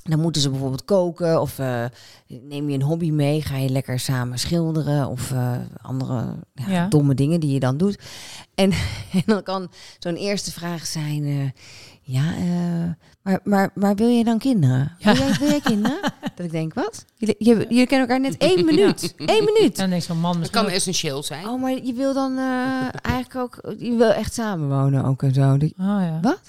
[SPEAKER 5] Dan moeten ze bijvoorbeeld koken of eh, neem je een hobby mee, ga je lekker samen schilderen of eh, andere ja,
[SPEAKER 3] Ja.
[SPEAKER 5] domme dingen die je dan doet. En, en dan kan zo'n eerste vraag zijn, eh, ja, eh, maar, maar, maar wil jij dan kinderen? Wil, jij, wil jij kinderen? Dat ik denk, wat? Jullie, je- jullie kennen elkaar net één minuut. Eén minuut.
[SPEAKER 3] En dan denk je zo'n man
[SPEAKER 4] Dat
[SPEAKER 3] misschien...
[SPEAKER 4] kan essentieel zijn.
[SPEAKER 5] Oh, maar je wil dan eh, eigenlijk ook, je wil echt samenwonen ook en zo. Dat-
[SPEAKER 3] Oh ja.
[SPEAKER 5] Wat?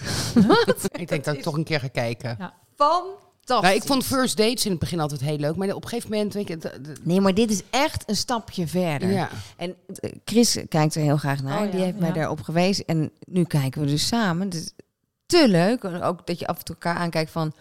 [SPEAKER 4] Ik denk dat ik toch een keer ga kijken.
[SPEAKER 5] Fantastisch.
[SPEAKER 4] Nou, ik vond first dates in het begin altijd heel leuk. Maar op een gegeven moment... Weet ik, het- het-
[SPEAKER 5] Nee, maar dit is echt een stapje verder.
[SPEAKER 4] ja.
[SPEAKER 5] En eh, Chris kijkt er heel graag naar.
[SPEAKER 3] Oh,
[SPEAKER 5] en Die
[SPEAKER 3] ja,
[SPEAKER 5] heeft mij
[SPEAKER 3] ja.
[SPEAKER 5] daarop gewezen. En nu kijken we dus samen. Het is te leuk. En Ook dat je af en toe elkaar aankijkt van...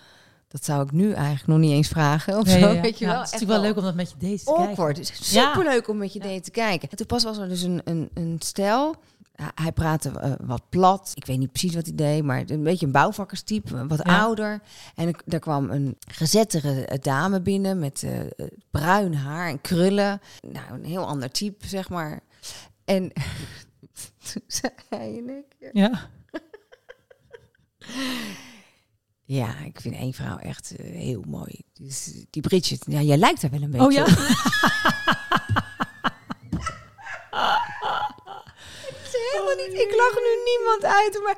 [SPEAKER 5] Dat zou ik nu eigenlijk nog niet eens vragen. Of
[SPEAKER 3] Ja,
[SPEAKER 5] zo,
[SPEAKER 3] ja, ja.
[SPEAKER 5] weet je
[SPEAKER 3] Ja,
[SPEAKER 5] wel.
[SPEAKER 3] Het is
[SPEAKER 5] Echt
[SPEAKER 3] natuurlijk wel leuk om dat met je deze te kijken.
[SPEAKER 5] awkward. Het is superleuk om met je date te kijken. En toen pas was er dus een, een, een stel. Hij- Hij praatte eh, wat plat. Ik weet niet precies wat hij deed, maar een beetje een bouwvakkerstype, wat
[SPEAKER 3] Ja.
[SPEAKER 5] ouder. En ik- er kwam een gezettere eh, dame binnen met eh, eh, bruin haar en krullen. Nou, een heel ander type, zeg maar. En toen zei hij in één keer...
[SPEAKER 3] Ja.
[SPEAKER 5] Ja, ik vind één vrouw echt eh, heel mooi. Dus, eh, die Bridget, ja, jij lijkt daar wel een beetje
[SPEAKER 3] Oh ja.
[SPEAKER 5] op. Het is helemaal niet. Ik lach nu niemand uit, maar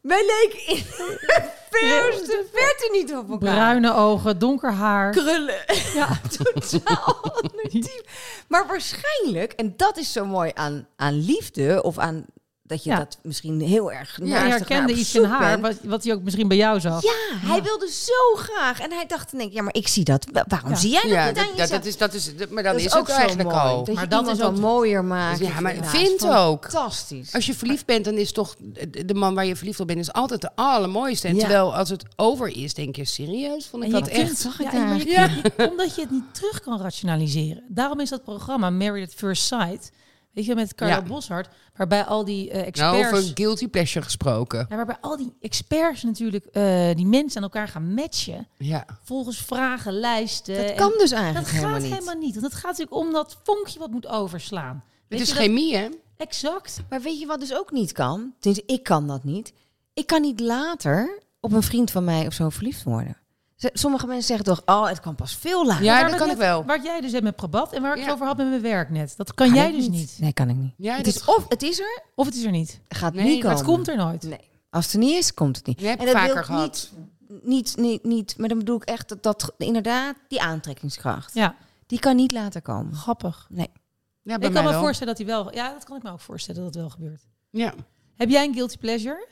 [SPEAKER 5] wij leken in de verste verte niet op elkaar.
[SPEAKER 3] Bruine ogen, donker haar.
[SPEAKER 5] Krullen. Ja, totaal ander type. Maar waarschijnlijk, en dat is zo mooi aan, aan liefde, of aan dat je
[SPEAKER 3] Ja.
[SPEAKER 5] dat misschien heel erg
[SPEAKER 3] Hij
[SPEAKER 5] naastig naar
[SPEAKER 3] herkende
[SPEAKER 5] op
[SPEAKER 3] iets in
[SPEAKER 5] zoek
[SPEAKER 3] haar,
[SPEAKER 5] bent.
[SPEAKER 3] wat, wat hij ook misschien bij jou zag.
[SPEAKER 5] Ja, hij wilde zo graag. En hij dacht, denk ik, ja, maar ik zie dat. Wa- Waarom
[SPEAKER 3] Ja.
[SPEAKER 5] zie jij dat
[SPEAKER 4] Ja,
[SPEAKER 5] niet aan
[SPEAKER 4] dat, dat,
[SPEAKER 5] jezelf?
[SPEAKER 4] dat is, dat is, dat- maar dan
[SPEAKER 5] Dat
[SPEAKER 4] is, het
[SPEAKER 5] zo
[SPEAKER 4] eigenlijk
[SPEAKER 5] mooi,
[SPEAKER 4] al.
[SPEAKER 5] Dat
[SPEAKER 3] Maar dat
[SPEAKER 5] je dat iemand
[SPEAKER 3] is ook-
[SPEAKER 5] dan mooier maakt.
[SPEAKER 4] Ja, maar
[SPEAKER 5] het
[SPEAKER 4] vindt
[SPEAKER 5] gewoon
[SPEAKER 4] ook.
[SPEAKER 5] Fantastisch.
[SPEAKER 4] Als je verliefd bent, dan is toch de de man waar je verliefd op bent, is altijd de allermooiste. En
[SPEAKER 5] Ja.
[SPEAKER 4] terwijl als het over is, denk je serieus, vond ik dat
[SPEAKER 3] kunt-
[SPEAKER 4] echt.
[SPEAKER 5] zag ik
[SPEAKER 3] ja, maar je
[SPEAKER 4] daar.
[SPEAKER 3] kunt- Omdat je het niet terug kan rationaliseren. Daarom is dat programma Married at First Sight, weet je, met Carla
[SPEAKER 4] Ja.
[SPEAKER 3] Boshart, waarbij al die eh,
[SPEAKER 4] Nou,
[SPEAKER 3] experts...
[SPEAKER 4] over guilty pleasure gesproken.
[SPEAKER 3] Ja, waarbij al die experts natuurlijk eh, die mensen aan elkaar gaan matchen.
[SPEAKER 4] Ja.
[SPEAKER 3] Volgens vragen, lijsten.
[SPEAKER 5] Dat
[SPEAKER 3] Eh, en-
[SPEAKER 5] kan dus
[SPEAKER 3] dat
[SPEAKER 5] eigenlijk
[SPEAKER 3] gaat
[SPEAKER 5] helemaal
[SPEAKER 3] helemaal
[SPEAKER 5] niet.
[SPEAKER 3] niet. Want het gaat natuurlijk om dat vonkje wat moet overslaan.
[SPEAKER 4] Het
[SPEAKER 3] Weet
[SPEAKER 4] is
[SPEAKER 3] je dat-
[SPEAKER 4] chemie, hè?
[SPEAKER 3] Exact.
[SPEAKER 5] Maar weet je wat dus ook niet kan? Dus ik kan dat niet. Ik kan niet later op een vriend van mij of zo verliefd worden. Z- Sommige mensen zeggen toch, oh, het kan pas veel later.
[SPEAKER 4] Ja,
[SPEAKER 3] Waar
[SPEAKER 4] dat kan
[SPEAKER 3] net-
[SPEAKER 4] ik wel.
[SPEAKER 3] Waar jij dus hebt met Probat en waar ik
[SPEAKER 4] Ja.
[SPEAKER 3] het over had met mijn werk net. Dat kan
[SPEAKER 5] Kan
[SPEAKER 3] jij
[SPEAKER 5] ik
[SPEAKER 3] dus niet.
[SPEAKER 5] Nee, kan ik niet.
[SPEAKER 4] Ja,
[SPEAKER 5] het
[SPEAKER 4] dat-
[SPEAKER 5] is of het is er,
[SPEAKER 3] Of het is er niet.
[SPEAKER 5] gaat
[SPEAKER 4] dus Nee,
[SPEAKER 5] niet
[SPEAKER 4] maar
[SPEAKER 5] komen.
[SPEAKER 3] Maar het komt er nooit.
[SPEAKER 5] Nee. Als het er niet is, komt het niet.
[SPEAKER 4] Je hebt
[SPEAKER 5] En dat
[SPEAKER 4] vaker
[SPEAKER 5] wil ik
[SPEAKER 4] gehad.
[SPEAKER 5] Niet, niet, niet, niet, maar dan bedoel ik echt dat, dat inderdaad die aantrekkingskracht.
[SPEAKER 3] Ja,
[SPEAKER 5] Die kan niet later komen.
[SPEAKER 3] grappig.
[SPEAKER 5] Nee.
[SPEAKER 4] Ja, bij
[SPEAKER 3] Ik
[SPEAKER 4] mij
[SPEAKER 3] kan me
[SPEAKER 4] wel.
[SPEAKER 3] voorstellen dat hij wel... Ja, dat kan ik me ook voorstellen dat het wel gebeurt.
[SPEAKER 4] Ja.
[SPEAKER 3] Heb jij een guilty pleasure?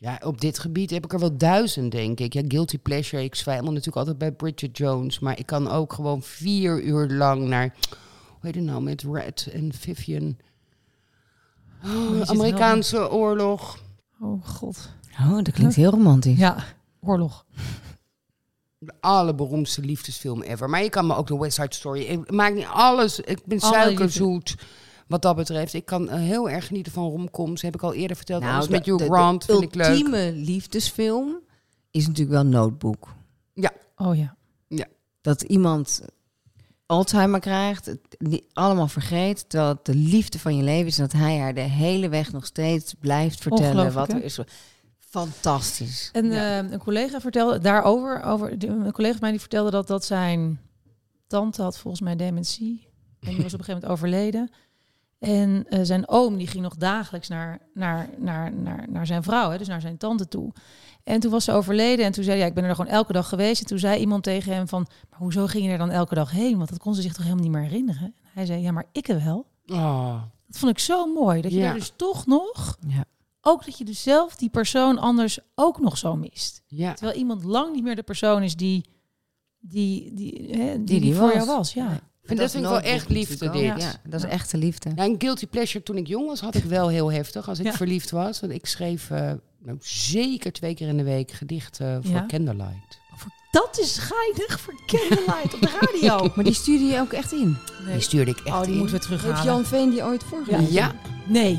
[SPEAKER 4] ja, op dit gebied heb ik er wel duizend, denk ik. Ja, guilty pleasure. Ik zwijmel natuurlijk altijd bij Bridget Jones. Maar ik kan ook gewoon vier uur lang naar... Hoe heet het nou? Met Red en Vivian. Oh,
[SPEAKER 3] zit er
[SPEAKER 4] Amerikaanse oorlog.
[SPEAKER 3] Oh god.
[SPEAKER 5] Oh, dat klinkt heel romantisch.
[SPEAKER 3] Ja, oorlog.
[SPEAKER 4] De allerberoemdste liefdesfilm ever. Maar je kan me ook de West Side Story... Ik maak niet alles... Ik ben
[SPEAKER 3] Alle
[SPEAKER 4] suikerzoet. Wat dat betreft. Ik kan eh, heel erg genieten van romcoms. Heb ik al eerder verteld.
[SPEAKER 3] Nou,
[SPEAKER 4] alles
[SPEAKER 5] de-
[SPEAKER 4] met Hugh
[SPEAKER 5] de-
[SPEAKER 4] Grant
[SPEAKER 5] de
[SPEAKER 4] vind ik leuk.
[SPEAKER 5] ultieme liefdesfilm is natuurlijk wel Notebook.
[SPEAKER 3] Oh ja.
[SPEAKER 5] Dat iemand Alzheimer krijgt, het die allemaal vergeet, terwijl het de liefde van je leven is. En dat hij haar de hele weg nog steeds blijft vertellen
[SPEAKER 3] Ongelooflijk,
[SPEAKER 5] wat er
[SPEAKER 3] hè?
[SPEAKER 5] is. Fantastisch.
[SPEAKER 3] En eh, een collega vertelde daarover, over, de- een collega van mij die vertelde dat, dat zijn tante had volgens mij dementie. En die was op een gegeven moment overleden. En eh, zijn oom die ging nog dagelijks naar, naar, naar, naar, naar zijn vrouw, hè, dus naar zijn tante toe. En toen was ze overleden en toen zei hij, ja, ik ben er gewoon elke dag geweest. En toen zei iemand tegen hem van, maar hoezo ging je er dan elke dag heen? Want dat kon ze zich toch helemaal niet meer herinneren? En hij zei, ja, maar ik wel.
[SPEAKER 4] Oh.
[SPEAKER 3] Dat vond ik zo mooi, dat je
[SPEAKER 4] Ja.
[SPEAKER 3] daar dus toch nog,
[SPEAKER 5] Ja.
[SPEAKER 3] ook dat je dus zelf die persoon anders ook nog zo mist.
[SPEAKER 4] Ja.
[SPEAKER 3] Terwijl iemand lang niet meer de persoon is die die, die, hè, die,
[SPEAKER 5] Die
[SPEAKER 3] die,
[SPEAKER 5] die
[SPEAKER 3] voor
[SPEAKER 5] was.
[SPEAKER 3] jou was. Ja.
[SPEAKER 4] En dat vind ik wel echt liefde, dit.
[SPEAKER 5] Ja, dat is echte liefde.
[SPEAKER 4] Ja, een guilty pleasure toen ik jong was, had ik wel heel heftig. Als ik
[SPEAKER 3] Ja.
[SPEAKER 4] verliefd was. Want ik schreef eh, nou, zeker twee keer in de week gedichten voor
[SPEAKER 3] Ja.
[SPEAKER 4] Candlelight.
[SPEAKER 3] Dat is geinig voor Candlelight op de radio.
[SPEAKER 5] Maar die stuurde je ook echt in.
[SPEAKER 4] Die stuurde ik echt
[SPEAKER 3] Oh, die
[SPEAKER 4] in.
[SPEAKER 3] moeten we Ah. terughalen.
[SPEAKER 5] Veen die ooit voorgelezen?
[SPEAKER 4] Ja,
[SPEAKER 3] Nee.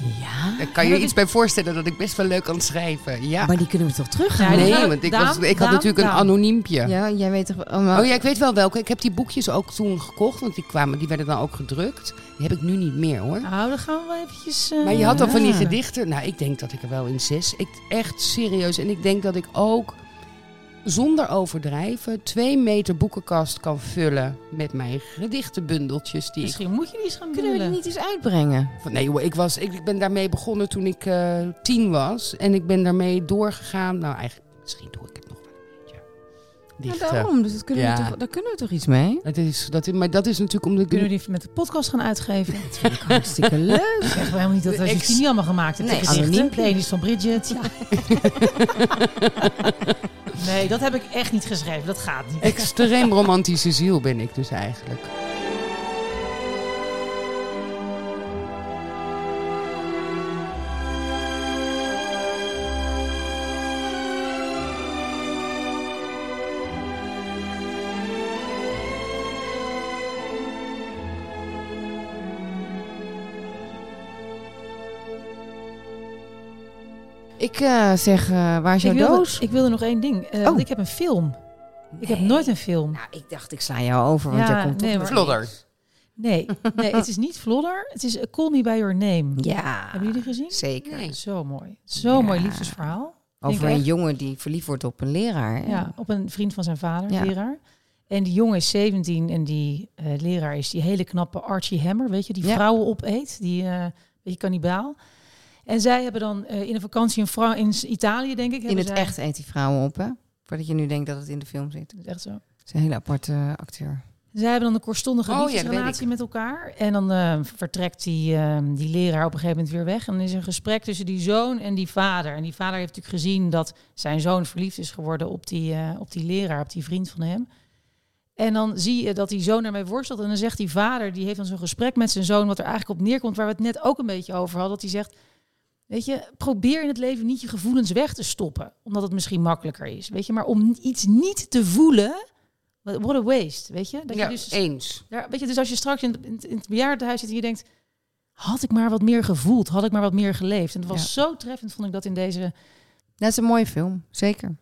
[SPEAKER 4] Daar kan je iets bij voorstellen dat ik best wel leuk kan schrijven. Ja.
[SPEAKER 5] Maar die kunnen we toch terug?
[SPEAKER 3] Ja, die
[SPEAKER 4] nee,
[SPEAKER 3] gaan we-
[SPEAKER 4] want ik,
[SPEAKER 3] Daan,
[SPEAKER 4] was, ik had
[SPEAKER 3] Daan,
[SPEAKER 4] natuurlijk een
[SPEAKER 3] Daan.
[SPEAKER 4] anoniempje.
[SPEAKER 5] Ja, jij weet toch... Oh, maar-
[SPEAKER 4] Oh ja, ik weet wel welke. Ik heb die boekjes ook toen gekocht, want die, kwamen, die werden dan ook gedrukt. Die heb ik nu niet meer hoor.
[SPEAKER 3] Nou, dan gaan we wel eventjes... eh,
[SPEAKER 4] Maar je had dan van die
[SPEAKER 5] Ja.
[SPEAKER 4] gedichten. Nou, ik denk dat ik er wel in zes. Ik, echt serieus. En ik denk dat ik ook zonder overdrijven twee meter boekenkast kan vullen met mijn gedichtenbundeltjes.
[SPEAKER 5] Dus
[SPEAKER 4] Die ik,
[SPEAKER 3] Misschien moet je die eens gaan
[SPEAKER 5] Kunnen we die
[SPEAKER 3] bundelen.
[SPEAKER 5] niet eens uitbrengen?
[SPEAKER 4] van- nee, joh, ik, was, ik, ik ben daarmee begonnen toen ik eh, tien was. En ik ben daarmee doorgegaan. Nou, eigenlijk, misschien doe ik het nog wel een beetje.
[SPEAKER 5] Ja,
[SPEAKER 4] Dichten.
[SPEAKER 5] daarom. Dus dat kunnen
[SPEAKER 4] Ja.
[SPEAKER 5] we toch, daar kunnen we toch iets mee?
[SPEAKER 4] dat is, dat is, maar dat is natuurlijk omdat ik
[SPEAKER 3] Kunnen we die even met de podcast gaan uitgeven? Ik
[SPEAKER 5] Dat vind ik hartstikke leuk.
[SPEAKER 3] zeg maar helemaal niet dat
[SPEAKER 4] De
[SPEAKER 3] we
[SPEAKER 4] ex-
[SPEAKER 3] die niet allemaal gemaakt hebben.
[SPEAKER 5] Nee,
[SPEAKER 3] De gezichten.
[SPEAKER 5] anoniem.
[SPEAKER 3] De ene is van Bridget. Ja. nee, dat heb ik echt niet geschreven. Dat gaat niet.
[SPEAKER 4] Extreem romantische ziel ben ik dus eigenlijk.
[SPEAKER 5] Ik eh, zeg, eh, waar is jouw
[SPEAKER 3] ik, wilde,
[SPEAKER 5] doos?
[SPEAKER 3] ik wilde nog één ding. Eh, want Ik heb een film. Ik heb
[SPEAKER 5] Nee.
[SPEAKER 3] nooit een film.
[SPEAKER 5] Nou, ik dacht, ik sla jou over, want
[SPEAKER 3] Ja,
[SPEAKER 5] jij komt
[SPEAKER 3] nee,
[SPEAKER 5] toch...
[SPEAKER 3] hoor. Nee, nee, het is niet Vlodder. Het is eh, Call Me By Your Name.
[SPEAKER 5] Ja,
[SPEAKER 3] Hebben jullie die gezien?
[SPEAKER 5] zeker.
[SPEAKER 4] Nee.
[SPEAKER 3] Zo mooi. Zo
[SPEAKER 5] Ja.
[SPEAKER 3] mooi liefdesverhaal.
[SPEAKER 5] Over
[SPEAKER 3] Denk
[SPEAKER 5] een
[SPEAKER 3] echt.
[SPEAKER 5] jongen die verliefd wordt op een leraar. hè?
[SPEAKER 3] Ja, op een vriend van zijn vader,
[SPEAKER 5] Ja.
[SPEAKER 3] leraar. En die jongen is 17 en die eh, leraar is die hele knappe Archie Hammer, weet je, die
[SPEAKER 5] Ja.
[SPEAKER 3] vrouwen opeet, die eh beetje kannibaal. En zij hebben dan eh, in een vakantie in, Fran in S- Italië, denk ik.
[SPEAKER 5] In
[SPEAKER 3] hebben
[SPEAKER 5] het
[SPEAKER 3] zij-
[SPEAKER 5] echt eet die vrouwen op, hè? Voordat je nu denkt dat het in de film zit.
[SPEAKER 3] Dat is echt zo.
[SPEAKER 5] Het is een hele aparte eh, acteur.
[SPEAKER 3] Zij hebben dan een kortstondige
[SPEAKER 4] Oh, ja, dat weet
[SPEAKER 3] liefdesrelatie met elkaar. En dan eh, vertrekt die, eh, die leraar op een gegeven moment weer weg. En dan is er een gesprek tussen die zoon en die vader. En die vader heeft natuurlijk gezien dat zijn zoon verliefd is geworden op die, eh, op die leraar, op die vriend van hem. En dan zie je dat die zoon ermee worstelt. En dan zegt die vader, die heeft dan zo'n gesprek met zijn zoon, wat er eigenlijk op neerkomt, waar we het net ook een beetje over hadden. Dat hij zegt, weet je, probeer in het leven niet je gevoelens weg te stoppen. Omdat het misschien makkelijker is, weet je. Maar om iets niet te voelen, what a waste, weet je. Dat
[SPEAKER 4] ja,
[SPEAKER 3] je dus
[SPEAKER 4] eens.
[SPEAKER 3] ja, weet je, dus als je straks in, in, in het bejaardenhuis zit en je denkt... had ik maar wat meer gevoeld, had ik maar wat meer geleefd. En het was zo treffend, vond ik dat in deze...
[SPEAKER 5] Dat is een mooie film, zeker.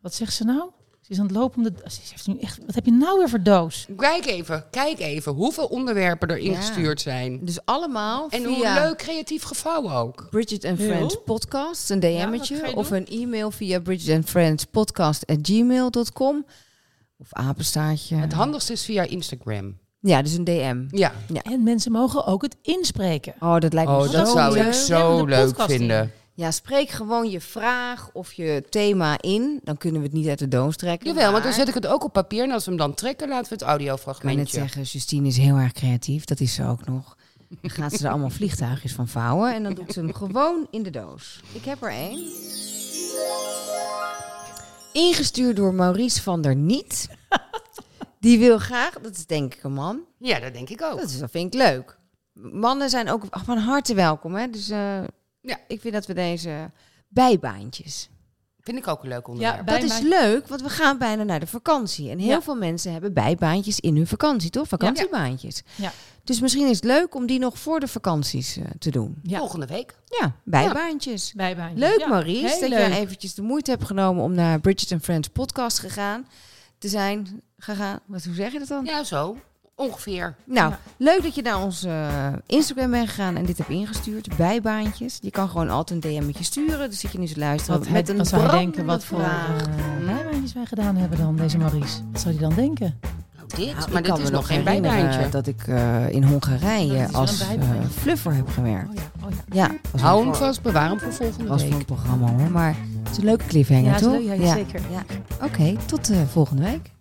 [SPEAKER 3] Wat zegt ze nou? Ze is aan het lopen om de... Ze heeft nu echt, wat heb je nou weer voor doos?
[SPEAKER 4] Kijk even, kijk even hoeveel onderwerpen er
[SPEAKER 5] Ja.
[SPEAKER 4] ingestuurd zijn.
[SPEAKER 5] Dus allemaal
[SPEAKER 4] En
[SPEAKER 5] via
[SPEAKER 4] hoe leuk creatief gevouwen ook.
[SPEAKER 5] Bridget and
[SPEAKER 3] Heel.
[SPEAKER 5] Friends podcast, een
[SPEAKER 3] Ja, wat
[SPEAKER 5] DM'tje
[SPEAKER 3] ga je
[SPEAKER 5] of
[SPEAKER 3] doen?
[SPEAKER 5] een e-mail via bridgetandfriendspodcast@gmail.com of apenstaartje.
[SPEAKER 4] Het handigste is via Instagram.
[SPEAKER 5] Ja, dus een DM.
[SPEAKER 4] Ja.
[SPEAKER 3] En mensen mogen ook het inspreken.
[SPEAKER 5] Oh, dat lijkt me
[SPEAKER 4] Oh,
[SPEAKER 5] zo
[SPEAKER 4] dat zou ik
[SPEAKER 5] leuk.
[SPEAKER 4] zo
[SPEAKER 3] We hebben de
[SPEAKER 4] leuk
[SPEAKER 3] podcast in.
[SPEAKER 4] vinden.
[SPEAKER 5] Ja, spreek gewoon je vraag of je thema in. Dan kunnen we het niet uit de doos trekken.
[SPEAKER 4] Jawel, want
[SPEAKER 5] maar-
[SPEAKER 4] dan zet ik het ook op papier. En als we hem dan trekken, laten we het
[SPEAKER 5] Ik kan net
[SPEAKER 4] audiofragmentje.
[SPEAKER 5] zeggen, Justine is heel erg creatief. Dat is ze ook nog. Dan gaat ze er allemaal vliegtuigjes van vouwen. En dan doet ze hem gewoon in de doos. Ik heb er één. Ingestuurd door Maurice van der Niet. Die wil graag, dat is denk ik een man.
[SPEAKER 4] Ja, dat denk ik ook.
[SPEAKER 5] Dat, is, dat vind ik leuk. Mannen zijn ook van harte welkom. Hè? Dus eh,
[SPEAKER 4] Ja.
[SPEAKER 5] ik vind dat we deze bijbaantjes.
[SPEAKER 4] Vind ik ook een leuk onderwerp.
[SPEAKER 3] bij-
[SPEAKER 5] Dat is
[SPEAKER 3] mij-
[SPEAKER 5] leuk, want we gaan bijna naar de vakantie. En heel
[SPEAKER 3] Ja.
[SPEAKER 5] veel mensen hebben bijbaantjes in hun vakantie, toch? Vakantiebaantjes.
[SPEAKER 3] Ja.
[SPEAKER 5] Dus misschien is het leuk om die nog voor de vakanties eh, te doen.
[SPEAKER 3] Ja.
[SPEAKER 4] Volgende week.
[SPEAKER 5] Ja, bijbaantjes.
[SPEAKER 3] Bijbaantjes.
[SPEAKER 5] Leuk,
[SPEAKER 3] Ja,
[SPEAKER 5] Maurice,
[SPEAKER 3] heel
[SPEAKER 5] dat
[SPEAKER 3] leuk.
[SPEAKER 5] jij eventjes de moeite hebt genomen om naar Bridget and Friends podcast gegaan, te zijn gegaan. Wat, hoe zeg je dat dan?
[SPEAKER 4] Ja, zo. Ongeveer.
[SPEAKER 5] Nou,
[SPEAKER 3] Ja.
[SPEAKER 5] leuk dat je naar ons eh, Instagram bent gegaan en dit hebt ingestuurd. Bijbaantjes. Je kan gewoon altijd een DM'tje sturen. Dus zit je nu te luisteren
[SPEAKER 3] Wat
[SPEAKER 5] met
[SPEAKER 3] hij-
[SPEAKER 5] een
[SPEAKER 3] wat zou hij denken, wat
[SPEAKER 5] brandende
[SPEAKER 3] voor
[SPEAKER 5] vraag.
[SPEAKER 3] eh, bijbaantjes wij gedaan hebben dan, deze Maurice? Wat zou die dan denken?
[SPEAKER 4] Nou, dit.
[SPEAKER 5] Nou,
[SPEAKER 4] maar
[SPEAKER 5] ik
[SPEAKER 4] dit
[SPEAKER 5] kan
[SPEAKER 4] is
[SPEAKER 5] me
[SPEAKER 4] nog geen
[SPEAKER 5] herinneren
[SPEAKER 4] bijbaantje.
[SPEAKER 5] dat ik eh, in
[SPEAKER 3] Dat
[SPEAKER 5] Hongarije
[SPEAKER 3] is wel
[SPEAKER 5] als
[SPEAKER 3] een
[SPEAKER 5] eh,
[SPEAKER 3] bijbaantje.
[SPEAKER 5] fluffer heb gewerkt.
[SPEAKER 3] Oh ja, oh ja.
[SPEAKER 5] Ja, was
[SPEAKER 4] Hou
[SPEAKER 5] een-
[SPEAKER 4] hem vast, bewaar hem voor volgende
[SPEAKER 5] was
[SPEAKER 4] week.
[SPEAKER 5] voor een programma hoor. Maar het is een leuke cliffhanger,
[SPEAKER 3] Ja, is
[SPEAKER 5] toch?
[SPEAKER 3] leuk, ja, zeker.
[SPEAKER 5] Ja. Oké, tot eh, volgende week.